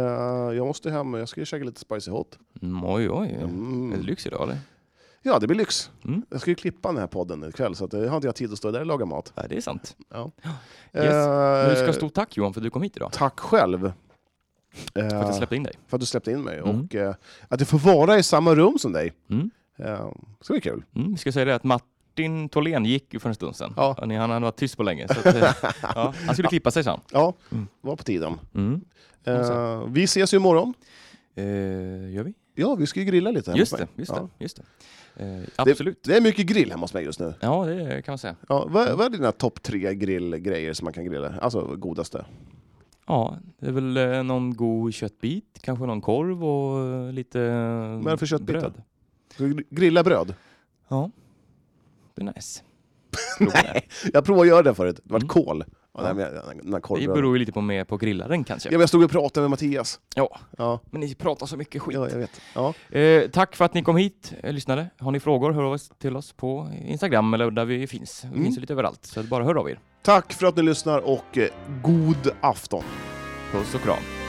[SPEAKER 2] jag måste hem, jag ska ju käka lite spicy hot.
[SPEAKER 1] Mm, oj, oj. Är det
[SPEAKER 2] Mm.
[SPEAKER 1] lyx idag eller?
[SPEAKER 2] Ja, det blir lyx.
[SPEAKER 1] Mm.
[SPEAKER 2] Jag ska ju klippa den här podden ikväll, så att, eh, har inte jag tid att stå där och laga mat.
[SPEAKER 1] Ja, det är sant. Yes.
[SPEAKER 2] Eh,
[SPEAKER 1] Men du ska stort tack Johan för att du kom hit idag.
[SPEAKER 2] Tack själv. Eh,
[SPEAKER 1] För att jag släppte in dig.
[SPEAKER 2] för att du släppte in mig
[SPEAKER 1] Mm.
[SPEAKER 2] och eh, att jag får vara i samma rum som dig.
[SPEAKER 1] Mm.
[SPEAKER 2] Eh, så det är kul.
[SPEAKER 1] Mm, vi ska säga det att Matt Martin Tholén gick ju för en stund sedan.
[SPEAKER 2] Ja.
[SPEAKER 1] Han, han hade varit tyst på länge. Så att, eh, ja, han skulle klippa sig sen.
[SPEAKER 2] Ja, var på tiden.
[SPEAKER 1] Mm.
[SPEAKER 2] Eh, vi ses ju imorgon.
[SPEAKER 1] Eh, gör vi?
[SPEAKER 2] Ja, vi ska ju grilla lite. hemma
[SPEAKER 1] Just
[SPEAKER 2] hos
[SPEAKER 1] det,
[SPEAKER 2] mig.
[SPEAKER 1] just
[SPEAKER 2] Ja.
[SPEAKER 1] det. Just det. Eh, absolut.
[SPEAKER 2] Det, det är mycket grill hemma hos mig just nu. Mm.
[SPEAKER 1] Ja, det kan man säga.
[SPEAKER 2] Ja, vad, vad är dina topp tre grillgrejer som man kan grilla? Alltså godaste?
[SPEAKER 1] Ja, det är väl eh, någon god köttbit, kanske någon korv och eh, lite Vad
[SPEAKER 2] är det för köttbit då? Ska vi gr- Grilla bröd?
[SPEAKER 1] Ja, det är nice.
[SPEAKER 2] Nej, jag provade att göra det förut. Det var
[SPEAKER 1] Mm.
[SPEAKER 2] kål. Ja, nej, men, den- den här
[SPEAKER 1] Det
[SPEAKER 2] korvbröden.
[SPEAKER 1] beror ju lite på mer på grillaren kanske.
[SPEAKER 2] Ja, men jag stod och pratade med Mattias.
[SPEAKER 1] Ja.
[SPEAKER 2] Ja,
[SPEAKER 1] Men ni pratar så mycket skit.
[SPEAKER 2] ja jag vet. Ja.
[SPEAKER 1] Eh, tack för att ni kom hit, eh, lyssnare. Har ni frågor, hör av er till oss på Instagram eller där vi finns. Vi
[SPEAKER 2] Mm.
[SPEAKER 1] finns ju lite överallt, så bara hör av er.
[SPEAKER 2] Tack för att ni lyssnar och eh, god afton.
[SPEAKER 1] Puss och kram.